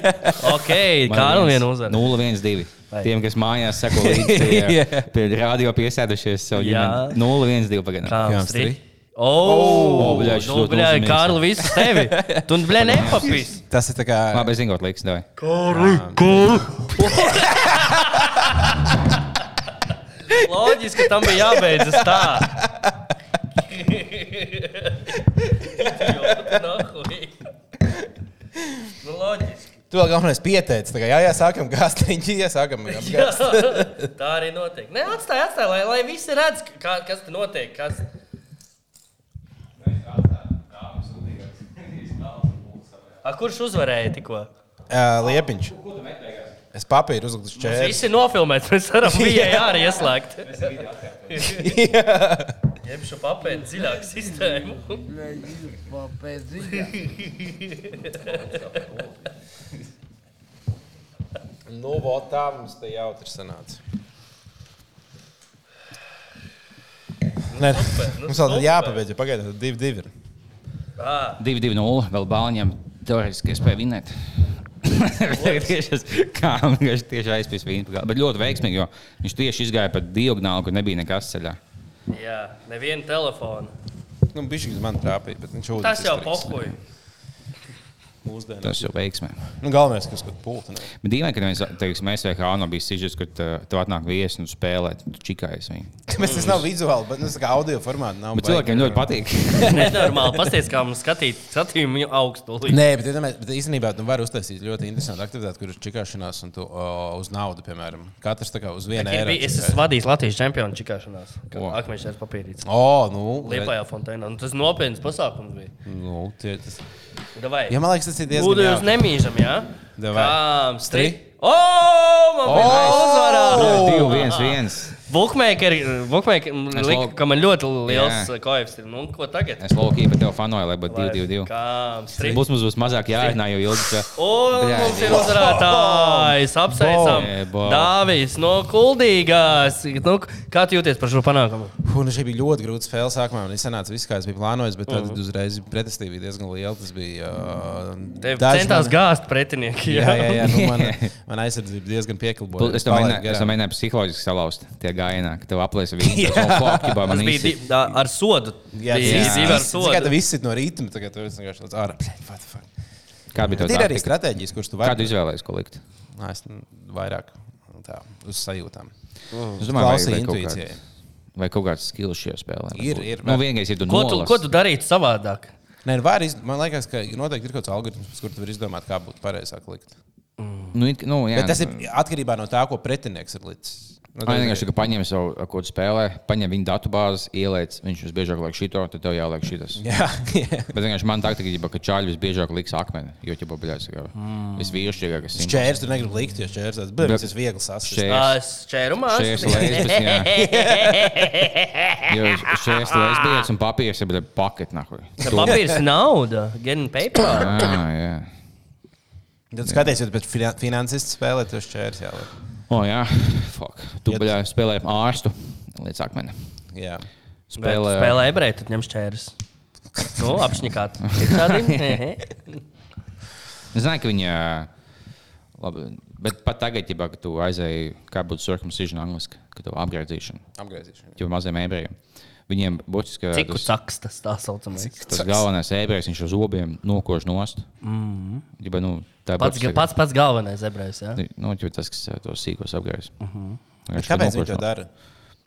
[SPEAKER 3] Ok, kā nu vienu uzvaru.
[SPEAKER 4] 0-1-2.
[SPEAKER 3] Vai.
[SPEAKER 4] Tiem, kas mājās seko līdzi,
[SPEAKER 3] <laughs>
[SPEAKER 4] tie, pie radio piesēdušies savu
[SPEAKER 3] Jā.
[SPEAKER 4] ģimeni. 0-1-2
[SPEAKER 3] Kā
[SPEAKER 4] pagaidām.
[SPEAKER 3] mums
[SPEAKER 2] Kāms
[SPEAKER 3] trī?
[SPEAKER 2] trī?
[SPEAKER 3] Oh,
[SPEAKER 4] bļa, šis
[SPEAKER 3] nu,
[SPEAKER 4] ļoti
[SPEAKER 3] bļa,
[SPEAKER 4] nozīmīgs.
[SPEAKER 3] Kārl, visu tevi. Tu, nu, bļa, nepapīsi.
[SPEAKER 2] Tas ir tā kā.
[SPEAKER 4] Labi, es zinu, ko liks. davai.
[SPEAKER 3] Loģiski, ka tam bija jābeidzas tā. Nu, Idioti, nahuj. Nu, loģiski.
[SPEAKER 2] Tu vēl galvenais pieteicis. tā kā, Jā, jā, sākam
[SPEAKER 3] <laughs>
[SPEAKER 2] gāztiņķi, <laughs> jā, sākam
[SPEAKER 3] Jā,
[SPEAKER 2] gāztiņķi.
[SPEAKER 3] tā arī notiek. Nē, atstāj, atstāj, lai, lai visi redz, kā, kas tur notiek. Kas... A, kurš uzvarēja tikko?
[SPEAKER 2] Uh, Liepiņš. Es papīru uzliku uz čēri.
[SPEAKER 3] Visi nofilmēts, mēs varam bija arī ieslēgt.
[SPEAKER 2] <laughs>
[SPEAKER 3] <laughs> Ņem šo papēdu dziļāk sistēmu. <laughs>
[SPEAKER 2] Nu, vo, tā mums te jautri sanāca. Nē,
[SPEAKER 3] nu
[SPEAKER 2] mums vēl
[SPEAKER 3] super.
[SPEAKER 2] ir jāpabeidz, ja pagaidām, tad divi, divi ir.
[SPEAKER 4] 2-2-0. Vēl bāliņam teorētiski spēja vinēt. Tagad <laughs> tieši es- kā viņš tieši aizpildīja viņa pagājušā. Bet ļoti veiksmīgi, jo viņš tieši izgāja pa diagonāli, kur nebija nekas ceļā.
[SPEAKER 3] Jā, neviena telefona.
[SPEAKER 2] Nu, bišķi uz mani trāpīja, bet viņš jau
[SPEAKER 3] Tas jau pohuļ.
[SPEAKER 2] mūsdienās.
[SPEAKER 4] Tas jau veiksmē.
[SPEAKER 2] Nu, galvenais, kas tur
[SPEAKER 4] <laughs>
[SPEAKER 2] pūlis.
[SPEAKER 4] Bet dīvaini, ka mēs, teiksim, mēs vai Hāno bija sižets, kad uh, tev atnāk viesi un spēlē, tu čikājies viņu.
[SPEAKER 2] Mēs tas nav vizuāli, bet nu, tā kā audio formātā nav.
[SPEAKER 4] Bet cilvēkiem ļoti patīk.
[SPEAKER 3] <laughs>
[SPEAKER 4] <laughs>
[SPEAKER 3] Nenormāli pasties, kā mums skatīt, skatījumu augstu līniju.
[SPEAKER 2] Nē, bet, iedomājies, bet īstenībā tu vari uztaisīt ļoti interesantu aktivitāti, kur ir čikāšanās un tu o, uz naudu, piemēram. Katrs tā kā uz vienu eiro.
[SPEAKER 3] Es
[SPEAKER 2] čikājas.
[SPEAKER 3] esmu vadījis Latvijas čempionu čikāšanās.
[SPEAKER 4] O.
[SPEAKER 3] Akmeņš ir papīrīts.
[SPEAKER 2] O, nu,
[SPEAKER 3] Liepā jau fontēnā. Nu, tas nopietns pasākums bija.
[SPEAKER 2] nu, tie, tas...
[SPEAKER 3] Davai.
[SPEAKER 2] ja, man liekas, tas ir diezgan
[SPEAKER 3] Lūdzu, jūs
[SPEAKER 2] jauki.
[SPEAKER 3] nemīžam, jā?
[SPEAKER 2] Davai.
[SPEAKER 3] Kāms, tri.
[SPEAKER 2] Tri.
[SPEAKER 3] O, man bija uzvarā!
[SPEAKER 4] Divi, viens, viens.
[SPEAKER 3] Bookmakeri, bookmakeri
[SPEAKER 4] Es
[SPEAKER 3] lika,
[SPEAKER 4] labi-
[SPEAKER 3] ka man ļoti liels
[SPEAKER 4] Jā.
[SPEAKER 3] uh, koeps ir. Nu, ko tagad?
[SPEAKER 4] Es lūk, īpa tev fanoju, lai būtu divi, divi, divi.
[SPEAKER 3] Kāms, tri.
[SPEAKER 4] Būs mums būs mazāk jāiznā, jo ilgi. tā-
[SPEAKER 3] Un
[SPEAKER 4] Jā,
[SPEAKER 3] mums ir
[SPEAKER 4] jā.
[SPEAKER 3] uzvarētājs. Apsveicam,
[SPEAKER 4] Bom. Jē, bom.
[SPEAKER 3] Dāvijas no Kuldīgās. Nu, kā tu jūties par šo panākumu?
[SPEAKER 2] Un nu, šī bija ļoti grūta spēle sākumā. Viņa sanāca viss, kā es biju plānojis, bet
[SPEAKER 3] Mhm.
[SPEAKER 2] tad uzreiz pretestība bija diezgan liela. Tas bija. Uh,
[SPEAKER 3] Tev centās
[SPEAKER 2] man,
[SPEAKER 3] gāzt pretinieki.
[SPEAKER 2] jā, jā, jā, nu, man,
[SPEAKER 3] <laughs>
[SPEAKER 2] man aizsardzība diezgan pieklibota.
[SPEAKER 4] Es to mēģināju, es to mēģināju psiholoģiski salauzt. Tie gājienā, ka tev aplēsa viņa klāpstā.
[SPEAKER 3] Tas bija di- ā, ar sodu.
[SPEAKER 2] Jā,
[SPEAKER 3] bija
[SPEAKER 4] jā.
[SPEAKER 2] tas
[SPEAKER 3] divi
[SPEAKER 2] ir
[SPEAKER 3] ar
[SPEAKER 2] Kā tas
[SPEAKER 3] sodu.
[SPEAKER 2] viss ir no rīta, tagad tas vienkārši tāds ārā. Bļaļ, what the fuck.
[SPEAKER 4] Kā bija
[SPEAKER 2] Bet Ir arī
[SPEAKER 4] tā?
[SPEAKER 2] stratēģijas, kurš tu
[SPEAKER 4] Kādu
[SPEAKER 2] vari.
[SPEAKER 4] izvēlējies, ko likt?
[SPEAKER 2] Nā, Es nu, vairāk tā, uz sajūtām.
[SPEAKER 3] Mhm.
[SPEAKER 4] Es domāju,
[SPEAKER 2] Klausīja
[SPEAKER 4] vai- vai kaut
[SPEAKER 2] intuīcijai.
[SPEAKER 4] kāds- Vai kaut kāds skills šajā spēlē?
[SPEAKER 2] Ir,
[SPEAKER 4] varbūt.
[SPEAKER 2] ir,
[SPEAKER 4] Nu,
[SPEAKER 2] bet-
[SPEAKER 4] vienīgais ir, tu
[SPEAKER 3] Ko tu, ko tu
[SPEAKER 4] nolasi.
[SPEAKER 3] darītu savādāk?
[SPEAKER 2] Nē, nu, var iz... Man liekas, ka noteikti ir kaut kāds algoritms, kur tu vari izdomāt, kā būtu pareizāk likt.
[SPEAKER 4] Nu, it- nu, jā,
[SPEAKER 2] Bet tas ir atkarībā no tā, ko pretinieks ir licis. Nu,
[SPEAKER 4] Ai, vienkārši tā, ka paņem savu ar ko tu spēlē, paņem viņa datubāzi, ieliec, viņš visbiežāk liek šito, tad tev jāliek šitas.
[SPEAKER 3] <laughs>
[SPEAKER 2] Jā, jā.
[SPEAKER 4] Bet vienkārši man taktika ir, ka čāļi visbiežāk liks akmeni, jo tie pabeļās. Mm. Visvīrišķīgākais. simbols.
[SPEAKER 2] Čērs tur negrib likt, jo čērs tāds bija. Tas ir viegli sasprāstīt.
[SPEAKER 4] Šķērs.
[SPEAKER 3] Ā, es Šķērumā.
[SPEAKER 4] Šķērs lēsbis, <laughs> Jo šis lesbietis un papīrs ir paketnē.
[SPEAKER 3] Tā Papīrs ir nauda. Gan paper.
[SPEAKER 4] Ah, Jā,
[SPEAKER 2] Tad skaties, ja tu pēc finan- finansistu spēlē, tas čērs jāliek.
[SPEAKER 4] oh, jā. Fuck. Tu
[SPEAKER 2] Ja tu-
[SPEAKER 4] bļā, spēlēji ārstu līdz akmenim.
[SPEAKER 2] Jā.
[SPEAKER 3] Spēlē, spēlē ebreju, tad ņem šķērs. Nu, apšņikāt. Ir tādi?
[SPEAKER 4] Es zinu, ka viņa. Labi, bet pat tagad, ja tu aizēji, kā būtu circumcision angliski, kad tu apgriezīšana,
[SPEAKER 2] Apgriezīšana.
[SPEAKER 4] jau maziem ebrejiem, viņiem būtiski
[SPEAKER 3] Cik
[SPEAKER 4] tas,
[SPEAKER 3] caks tas tā saucamais?
[SPEAKER 4] tas galvenais ebrejs, viņš uz zobiem nokož nost. Mm. Ģiba, nu, tā
[SPEAKER 3] Mhm. Pats,
[SPEAKER 4] būtiski-
[SPEAKER 3] pats, pats galvenais ebrejs.
[SPEAKER 4] <laughs>
[SPEAKER 3] Jā?
[SPEAKER 4] Nu, ģiba, tas, kas eh, tos sīkos apgriež. Uh -huh.
[SPEAKER 2] Mhm. Kāpēc viņi to dara?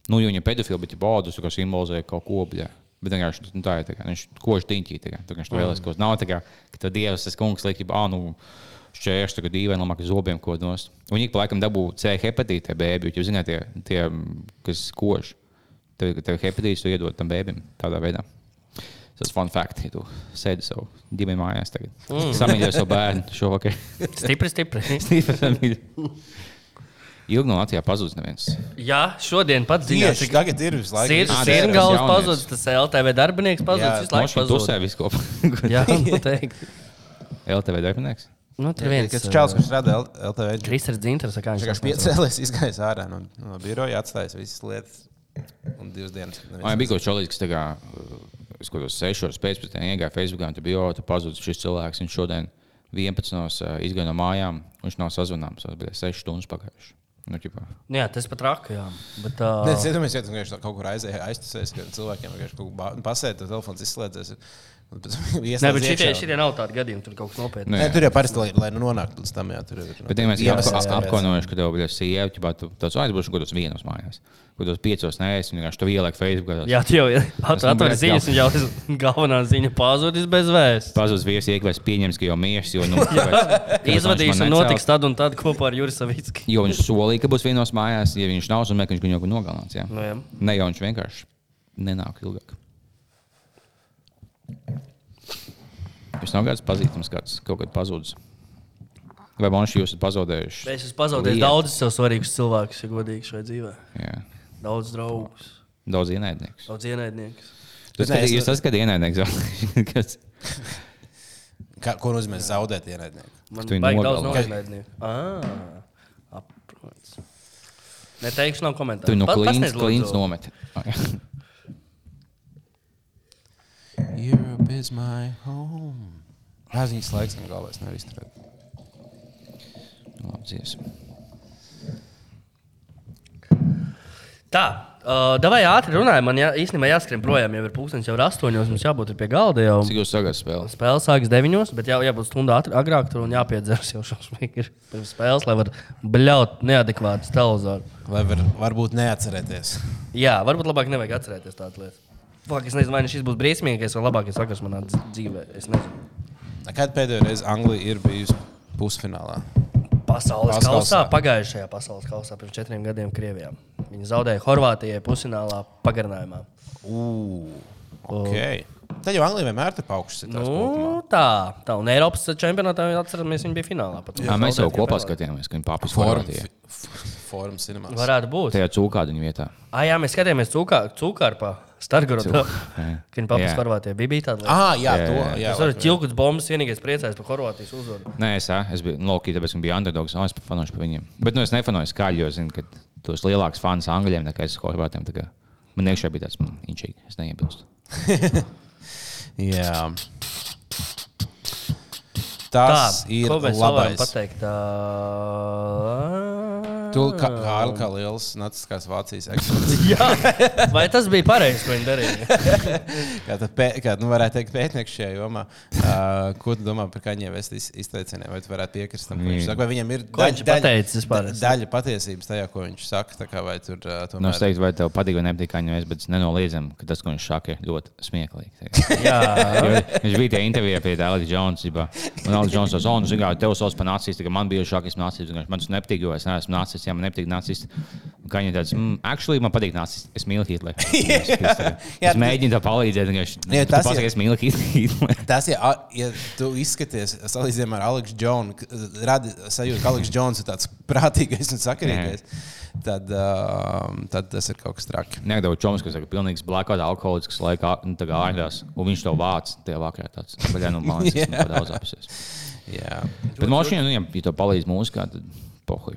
[SPEAKER 4] Nu, jo viņa pedofili, bet baudus, kas simbolizē kaut ko obļā. Bet vienkārši nu, tā ir. tā kā, Viņš kož tiņķī. Tā kā tā viņš to
[SPEAKER 2] Mhm.
[SPEAKER 4] vēlas, ko nav. Tā kā ka tad dievs, tas kungs liek, ah, nu, šķēršļi tagad dīvainam, ka zobiem ko nost. Un viņi pa laikam dabū C hepatīte bēbi, jo, jūs zināt, tie, tie kas kož. Tev, tev hepatīts, tu iedod tam bēbim tādā veidā. Tas ir fun fact, ja tu sēdi savā ģimenē mājās tagad. Mm. Samīļo savu bērnu
[SPEAKER 2] <laughs>
[SPEAKER 4] šovakar.
[SPEAKER 3] Stipri, stipri.
[SPEAKER 4] Stīvi samīļo. Ilgi no Latvijā pazudis neviens.
[SPEAKER 3] Jā, šodien pats ziņā.
[SPEAKER 2] Tieši tagad ir visu laiku.
[SPEAKER 3] Ir
[SPEAKER 2] Ir.
[SPEAKER 4] Ā,
[SPEAKER 3] sirgauts
[SPEAKER 4] jaunietis.
[SPEAKER 3] pazudis, tas LTV darbinieks
[SPEAKER 2] Jā,
[SPEAKER 3] pazudis, visu laiku
[SPEAKER 4] Mašīna
[SPEAKER 3] pazudis.
[SPEAKER 4] pusē <laughs> vispār.
[SPEAKER 3] <laughs> Jā, noteikti.
[SPEAKER 4] LTV darbinieks.
[SPEAKER 3] Nu, tur viens.
[SPEAKER 2] Kad čels, kurš rada L- LTV, viņš
[SPEAKER 3] Kristers Dzinters, kā viņš
[SPEAKER 2] vienkārši piecēlās, izgājis ārā no, no biroja, atstājis visas lietas. Un divas dienas. neviens
[SPEAKER 4] Jā, bija kaut kas tāds, kas tagad, uh, es kaut kādos sešos pēcpusdienā iegāju Facebookā, un tur bija jau tā pazudis šis cilvēks. Viņš šodien 11. eh, izgāja no mājām, un viņš nav sazvanāms. Tas bija 6 stundas pagājuši. Nu, ķipā.
[SPEAKER 3] Nu, jā, tas pat raka, jā. Bet,
[SPEAKER 2] Nē,
[SPEAKER 3] uh,
[SPEAKER 2] Es iedomājos, ja tu vienkārši tā kaut kur aizēji, aiztusējies, ka cilvēkiem vienkārši kaut kā pasēdi, tad telefons izslēdzas.
[SPEAKER 3] Nē, bet šitie, šitie nav tādi gadījumi, tur kaut kas nopietns.
[SPEAKER 4] Nu,
[SPEAKER 2] Nē,
[SPEAKER 4] jā.
[SPEAKER 2] tur jau parasti, lai, lai nu nonāktu līdz tam, jā, tur ir.
[SPEAKER 4] Bet ja mēs jau
[SPEAKER 2] iemesls,
[SPEAKER 4] ap-
[SPEAKER 2] kāpēc.
[SPEAKER 4] apkaunojuši, ka tev bija sieva, tad tu tāds aizbūsi kaut kādos vienos mājās. Kaut kādos piecos nē, es vienkārši to ielieku Facebookā.
[SPEAKER 3] Jā, tu jau <laughs>
[SPEAKER 4] nu,
[SPEAKER 3] atver
[SPEAKER 4] brēc,
[SPEAKER 3] ziņas, un jau <laughs> galvenā ziņa pazudis bez vēsts.
[SPEAKER 4] Pazudis viesis, iekvēs pieņems, ka jau miers, jo nu, tāpēc-
[SPEAKER 3] Izvadīšana
[SPEAKER 4] man necels.
[SPEAKER 3] notiks tad un tad kopā ar Juris Savicki.
[SPEAKER 4] Jo viņš solīja, ka būs vienos mājās, ja viņš nav uzmanīgs, viņš viņu jau nogalinās. jā.
[SPEAKER 3] Nu, jā.
[SPEAKER 4] ne jau viņš vienkārši nenāk ilgāk. Viņš nav kāds pazīstams, kāds kaut kad pazudis. Vai man šī jūs esat pazaudējuši?
[SPEAKER 3] Es esmu pazaudējis
[SPEAKER 4] Lieta.
[SPEAKER 3] daudzus sev svarīgus cilvēkus, ja godīgi šajā dzīvē.
[SPEAKER 4] Jā.
[SPEAKER 3] Daudz draugus,
[SPEAKER 4] Daudz ienaidnieks.
[SPEAKER 3] daudz ienaidniekus.
[SPEAKER 4] Jūs
[SPEAKER 2] nē,
[SPEAKER 4] esat
[SPEAKER 2] es-
[SPEAKER 4] skatījis, es... kad ienaidnieks vēl- <laughs> kas-
[SPEAKER 2] Kā- Ko nozīmē zaudēt ienaidnieku?
[SPEAKER 3] Man
[SPEAKER 4] tu viņu
[SPEAKER 3] vajag daudz
[SPEAKER 4] nogalināji.
[SPEAKER 3] ienaidnieku. Ā, Saprotu. Neteikšu, nav komentāru.
[SPEAKER 4] tu no
[SPEAKER 3] Pa-
[SPEAKER 4] klīnas,
[SPEAKER 3] pasniedz,
[SPEAKER 4] klīnas
[SPEAKER 3] lūdzu.
[SPEAKER 4] nomet. Ah,
[SPEAKER 2] Europe is my home. Paziņas laiks, man galvā es nevaru izturēt.
[SPEAKER 4] Labi, dziesma.
[SPEAKER 3] Tā, Uh, Davai ātri runājam, man jā, īstenībā jāskrien projām. Jau ir pūkstens, jau ir astoņos, mums jābūt ir pie galda. Jau.
[SPEAKER 4] Cik jūs sagaidat spēles?
[SPEAKER 3] Spēle sākas deviņos, bet jau jābūt stundā ātri- agrāk tur un jāpiedzeras jau šausmīgi ir pirms spēles, lai varētu bļaut neadekvātu televizoru.
[SPEAKER 2] Lai var, varbūt neatcerēties.
[SPEAKER 3] Jā, varbūt labāk nevajag atcerēties tādas lietas. Fak, es nezinu, vai nu šis būs briesmīgākais vai labākais vakars manā dz- dzīvē. Es nezinu.
[SPEAKER 2] Kad pēdējo reizi Anglija ir bijusi pusfinālā?
[SPEAKER 3] Pasaules kausā,
[SPEAKER 2] Pasaulsā.
[SPEAKER 3] pagājušajā pasaules kausā pirms četriem gadiem Krievijā. Viņi zaudēja Horvātijai pusfinālā pagarinājumā.
[SPEAKER 2] Okay. Tad jau Anglija vienmēr ir paukšs.
[SPEAKER 3] Nu, tā, tā, un Eiropas čempionātā jau atceramies, viņi bija finālā. pat.
[SPEAKER 4] Jā, mēs jau
[SPEAKER 3] Zaudēja
[SPEAKER 4] kopā
[SPEAKER 3] Krievijai.
[SPEAKER 4] skatījāmies, ka viņi papildus formā.
[SPEAKER 2] Forma cinemā.
[SPEAKER 3] Varētu būt.
[SPEAKER 4] Tajā cūkādiņa vietā.
[SPEAKER 3] Ah, jā, mēs skatījāmies Cūkārpā, <laughs> Stargorotā.
[SPEAKER 4] jā.
[SPEAKER 3] Viņa papildus
[SPEAKER 4] Jā.
[SPEAKER 3] Horvātijai bija, bija tāda lieta.
[SPEAKER 2] Ah, jā,
[SPEAKER 4] Jā,
[SPEAKER 2] to.
[SPEAKER 4] jā,
[SPEAKER 2] Jā,
[SPEAKER 3] Es varu ķilkut bombas, vienīgais priecājos par Horvātijas uzvaru.
[SPEAKER 4] Nē, es, ā, es biju Loki, tāpēc ka bija underdogs. No, es fanošu par viņiem. Bet nu, es nefanoju skaļi, jo zinu, ka tos lielāks fans angļiem nekā es horvātiem. tā kā Man iekšā bija tāds mm, inčīgi. Es neiebilstu.
[SPEAKER 2] jā. Tas tā, ir
[SPEAKER 3] ko mēs vēl varam
[SPEAKER 2] labais.
[SPEAKER 3] pateikt. Tā...
[SPEAKER 2] Tu kā Kārlis, kā liels nacistiskās Vācijas eksperts,
[SPEAKER 3] Jā, vai tas bija pareizi, ko
[SPEAKER 2] <laughs>
[SPEAKER 3] viņi darīja?
[SPEAKER 2] kā, tad pē, kā nu varētu teikt, pētnieks šajā jomā, <laughs> uh, ko tu domā par Kaņģa vēstures izteicieniem? Vai tu varētu piekrist tam, ko
[SPEAKER 4] Mm.
[SPEAKER 2] viņš saka? Vai viņam ir
[SPEAKER 3] Ko viņš pateicis vispār?
[SPEAKER 2] da- daļa patiesības tajā, ko viņš saka? tā kā Vai tur uh,
[SPEAKER 4] Nu, es
[SPEAKER 2] tomēr
[SPEAKER 4] teiktu, vai tev patīk, vai nepatīk, kā viņam ir, bet es nenoliedzami, ka tas, ko viņš saka, ir ļoti smieklīgi.
[SPEAKER 3] Jā,
[SPEAKER 4] Jo Viņš bija tajā intervijā pie Aleksa Jonesa. Un Aleksa Jonesa teica, nu, un zināmā mērā tevis sauc par nacistu, ka man bija šāds nacists. un viņš Man tas nepatīk, jo es neesmu nacists, ja man nepatīk nacists. Un Kā viņa teica, mm, actually man patīk nacists. Es mīlu
[SPEAKER 2] <laughs>
[SPEAKER 4] Hitleru. Es,
[SPEAKER 2] Jā,
[SPEAKER 4] es mēģinu tā palīdzēt, un viņš
[SPEAKER 2] Jā,
[SPEAKER 4] man
[SPEAKER 2] tas
[SPEAKER 4] teica,
[SPEAKER 2] ir-
[SPEAKER 4] es mīlu Hitleru. <laughs>
[SPEAKER 2] Tas, ja, a- ja tu izskaties, salīdzinām ar Aleksu Džonu, k- radi sajūtu, ka Aleks Džons ir tāds <laughs> prātīgais un sakarīgais, tad, um, tad tas ir kaut kas traki.
[SPEAKER 4] Negaidot čoms, kas ir pilnīgs blackout, alkoholisks, laika nu, tā kā ārās, un viņš to vāc tajā vakarā. Tāds, baļā, nu, man liekas, tas ir daudz apsies.
[SPEAKER 2] Jā.
[SPEAKER 4] Bet mašīnā, nu, ja ja to palīdz mūzikā, tad pohuj.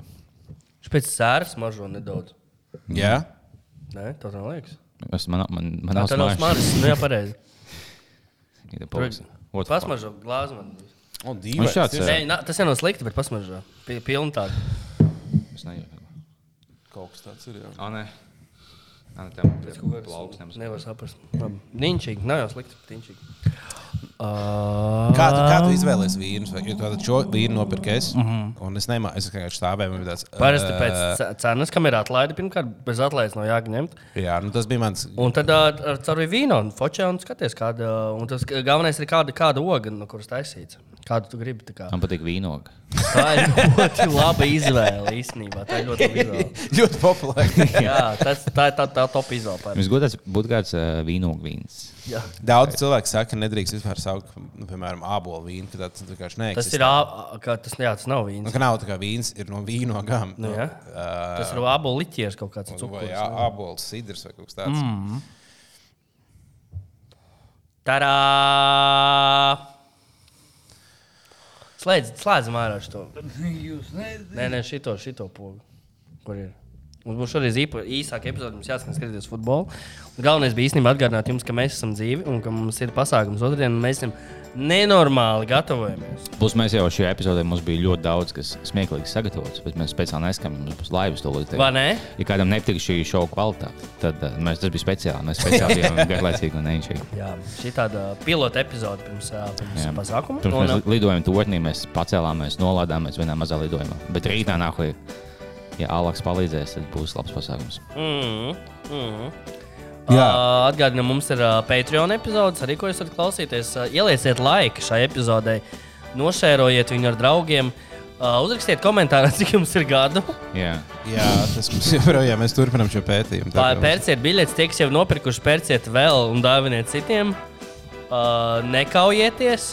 [SPEAKER 3] viņš pēc sēras mažo nedaudz.
[SPEAKER 4] Mm.
[SPEAKER 2] Jā?
[SPEAKER 3] Nē, tā nav liekas.
[SPEAKER 4] Nu, Es man, man, man
[SPEAKER 3] Tā,
[SPEAKER 4] nav
[SPEAKER 3] tā nav
[SPEAKER 4] smaržas.
[SPEAKER 3] smaržas. Nu, jā, pareizi.
[SPEAKER 4] Ja tu palīdzi. What the fuck?
[SPEAKER 3] Pasmažo glāzi man.
[SPEAKER 2] O,
[SPEAKER 4] Viņš
[SPEAKER 2] dīvains.
[SPEAKER 4] tāds
[SPEAKER 2] ir.
[SPEAKER 4] Nu, ir.
[SPEAKER 3] Nē, nā, tas jau nav slikti, bet pasmažo. Pi- Pilni tādi.
[SPEAKER 4] Es nejūtu.
[SPEAKER 2] Kaut kas tāds ir. Jā.
[SPEAKER 4] Ah, nē. Nē, nu, nē, tam plauks nemaz.
[SPEAKER 3] Nevar saprast. Labi. Niņšīgi, nav jau slikti. Niņšīgi.
[SPEAKER 2] Kā tu, kā tu izvēlējies vīnu? Vai- jo Tātad šo vīnu nopirku es. Mm -hmm. Un es nemā, es vienkārši stāvēju. man bija Tāds,
[SPEAKER 3] Mhm. Parasti
[SPEAKER 2] eh,
[SPEAKER 3] pēc ce- cenas, kam ir atlaide, pirmkārt, bez atlaides nav jāgaņemt.
[SPEAKER 2] Jā, nu tas bija mans. <laughs>
[SPEAKER 3] Un tad ā, ar caur vīnu un focē un skaties, kāda. Un tas g- galvenais ir kāda, kāda oga, no kuras taisīts. Kādu tu gribi? tā Kā.
[SPEAKER 4] Man patīk vīnoga.
[SPEAKER 3] Tā ir ļoti laba izvēle īstenībā. Tā ir ļoti laba izvēle.
[SPEAKER 2] ļoti
[SPEAKER 3] <laughs>
[SPEAKER 2] populārs.
[SPEAKER 3] Jā, tas, tā ir tā, tā top izvēle. parasti.
[SPEAKER 4] Mums godāts būtu kāds uh, vīnoga vīns.
[SPEAKER 3] Jā.
[SPEAKER 2] Daudz cilvēku saka, ka nedrīkst vispār saukt, nu, piemēram, ābolu vīnu. ka tāds vienkārši neeksistē.
[SPEAKER 3] Tas ir ā- ā, kā, tas, jā, tas nav
[SPEAKER 2] Nu,
[SPEAKER 3] vīns.
[SPEAKER 2] ka nav tā kā vīns ir no vīnogām.
[SPEAKER 3] Nu, jā.
[SPEAKER 2] Uh,
[SPEAKER 3] Tas ir abolis liķieris kaut kāds
[SPEAKER 2] Nu, Vai
[SPEAKER 3] cukurs.
[SPEAKER 2] ā- ābols, sidrs vai kaut kas tāds. Mm.
[SPEAKER 3] Tarā! Slēdz, slēdzam ārā šo.
[SPEAKER 5] Jūs nezināt,
[SPEAKER 3] Nē, nē, šito, šito pogu. Kur ir? Mums būs šoreiz īpa- īsāka epizode, mums jāsaka, skaties futbolu. Un galvenais bija īstenībā atgādināt jums, ka mēs esam dzīvi un ka mums ir pasākums otrdien, un mēs esam nenormāli gatavojamies.
[SPEAKER 4] Plus mēs jau šajā epizodē mums bija ļoti daudz, kas smieklīgi sagatavots, bet mēs speciāli neskatāmies, mums būs laivas tūlīt.
[SPEAKER 3] Vai ne?
[SPEAKER 4] Ja kādam nepatīk šī šova kvalitāte, tad uh, mēs, tas bija speciāli. Mēs speciāli bijām
[SPEAKER 3] <laughs>
[SPEAKER 4] garlaicīgi un neinčīgi.
[SPEAKER 3] Jā, šī tāda pilota epizode pirms, ā, pirms
[SPEAKER 4] Jā.
[SPEAKER 3] pasākuma.
[SPEAKER 4] Pirms
[SPEAKER 3] Un,
[SPEAKER 4] mēs li- lidojām turnī, mēs pacēlāmies, nolādāmies vienā mazā lidojumā. Bet rītā nākamajā, ja Alaks palīdzēs, tad būs labs pasākums.
[SPEAKER 3] Mm, mm.
[SPEAKER 2] Jā.
[SPEAKER 3] Ā, Atgādinu, Uh, mums ir ā, Patreon epizode, arī ko jūs varat klausīties. Ā, Ielieciet laiku šai epizodei, nošērojiet viņu ar draugiem, ā, uzrakstiet komentārā, <laughs> cik jums ir gadu.
[SPEAKER 4] Yeah.
[SPEAKER 2] Jā, tas mums <laughs> joprojām ir. Mēs turpinām šo pētījumu.
[SPEAKER 3] Pā-
[SPEAKER 2] kā mums-
[SPEAKER 3] Pērciet biļetes, tie, kas jau nopirkuši, pērciet vēl un dāviniet citiem. Ā, Nekaujieties,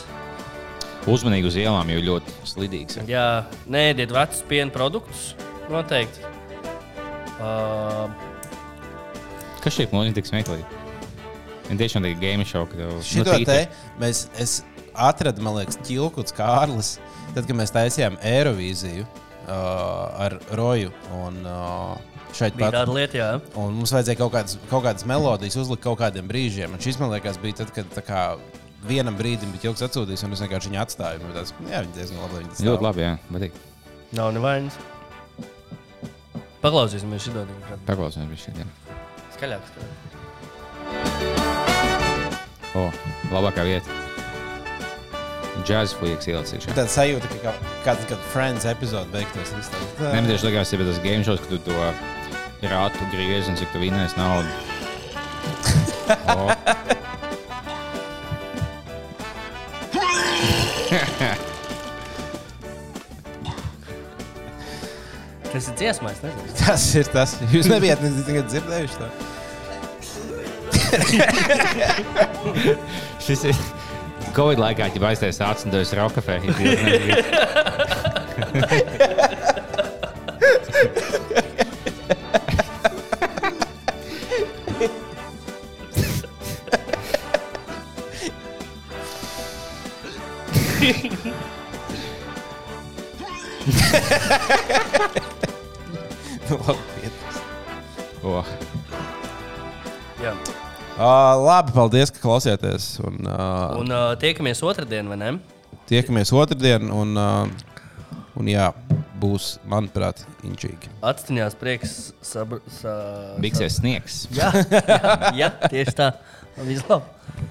[SPEAKER 4] Uzmanīgi uz ielām, jo ļoti slidīgs. ir.
[SPEAKER 3] jā, neēdiet vecus piena produktus noteikti. Uh, Ā,
[SPEAKER 4] Kas šeit man ir tik smieklīgi? Viņa tiešām ir game show. Ka, tev- Nu,
[SPEAKER 2] Šito
[SPEAKER 4] tīti.
[SPEAKER 2] te mēs es atradu, man liekas, Čilkuts Kārlis. Tad, kad mēs taisījām Eirovīziju uh, ar Roju un uh, šeit
[SPEAKER 3] Bija
[SPEAKER 2] pat.
[SPEAKER 3] tāda lieta, jā.
[SPEAKER 2] Un mums vajadzēja kaut kādas, kaut kādas melodijas uzlikt kaut kādiem brīžiem. Un šis man liekas, bija tad, kad tā kā, vienam brīdim bija ilgs atsūtījis, un es vienkārši viņu atstāju. Man liekas, Jā, viņi diezgan labi. Viņi
[SPEAKER 4] Ļoti labi, jā. Patīk.
[SPEAKER 3] Nav nevainas. Paklausīsimies šodien.
[SPEAKER 4] Paklausīsimies šeit. jā.
[SPEAKER 3] Skaļāk.
[SPEAKER 4] O, labākā vieta. Džēzus fujiks ielas iekšā.
[SPEAKER 2] Tāda sajūta, ka kaut kāds gada Friends epizode beigtos. viss tāds, tā.
[SPEAKER 4] Nemēģinās likās, ja tas game shows, ka tu to rātu griez un cik tu vinnēs naudu. O,
[SPEAKER 3] Tas ir dziesmais, nezinu.
[SPEAKER 2] Tas ir tas. Jūs nebijat ne- tikai dzirdējuši to. <laughs>
[SPEAKER 4] šis ir <laughs> Covid laikā, ja aiztais acis un devis rokafē. ja tu
[SPEAKER 2] <laughs>
[SPEAKER 4] nezini.
[SPEAKER 2] Nu, labi, iet.
[SPEAKER 4] O,
[SPEAKER 3] Jā.
[SPEAKER 2] Ā, labi, paldies, ka klausījāties. Un, uh,
[SPEAKER 3] Un uh, tiekamies otrdien, vai ne?
[SPEAKER 2] tiekamies otrdien. Un, uh, un jā, būs, manuprāt, inčīgi.
[SPEAKER 3] Atstājās prieks. Sabr, sa, <laughs>
[SPEAKER 4] Biksēs sniegs.
[SPEAKER 3] Jā, jā, jā, tieši tā. Vislabāk.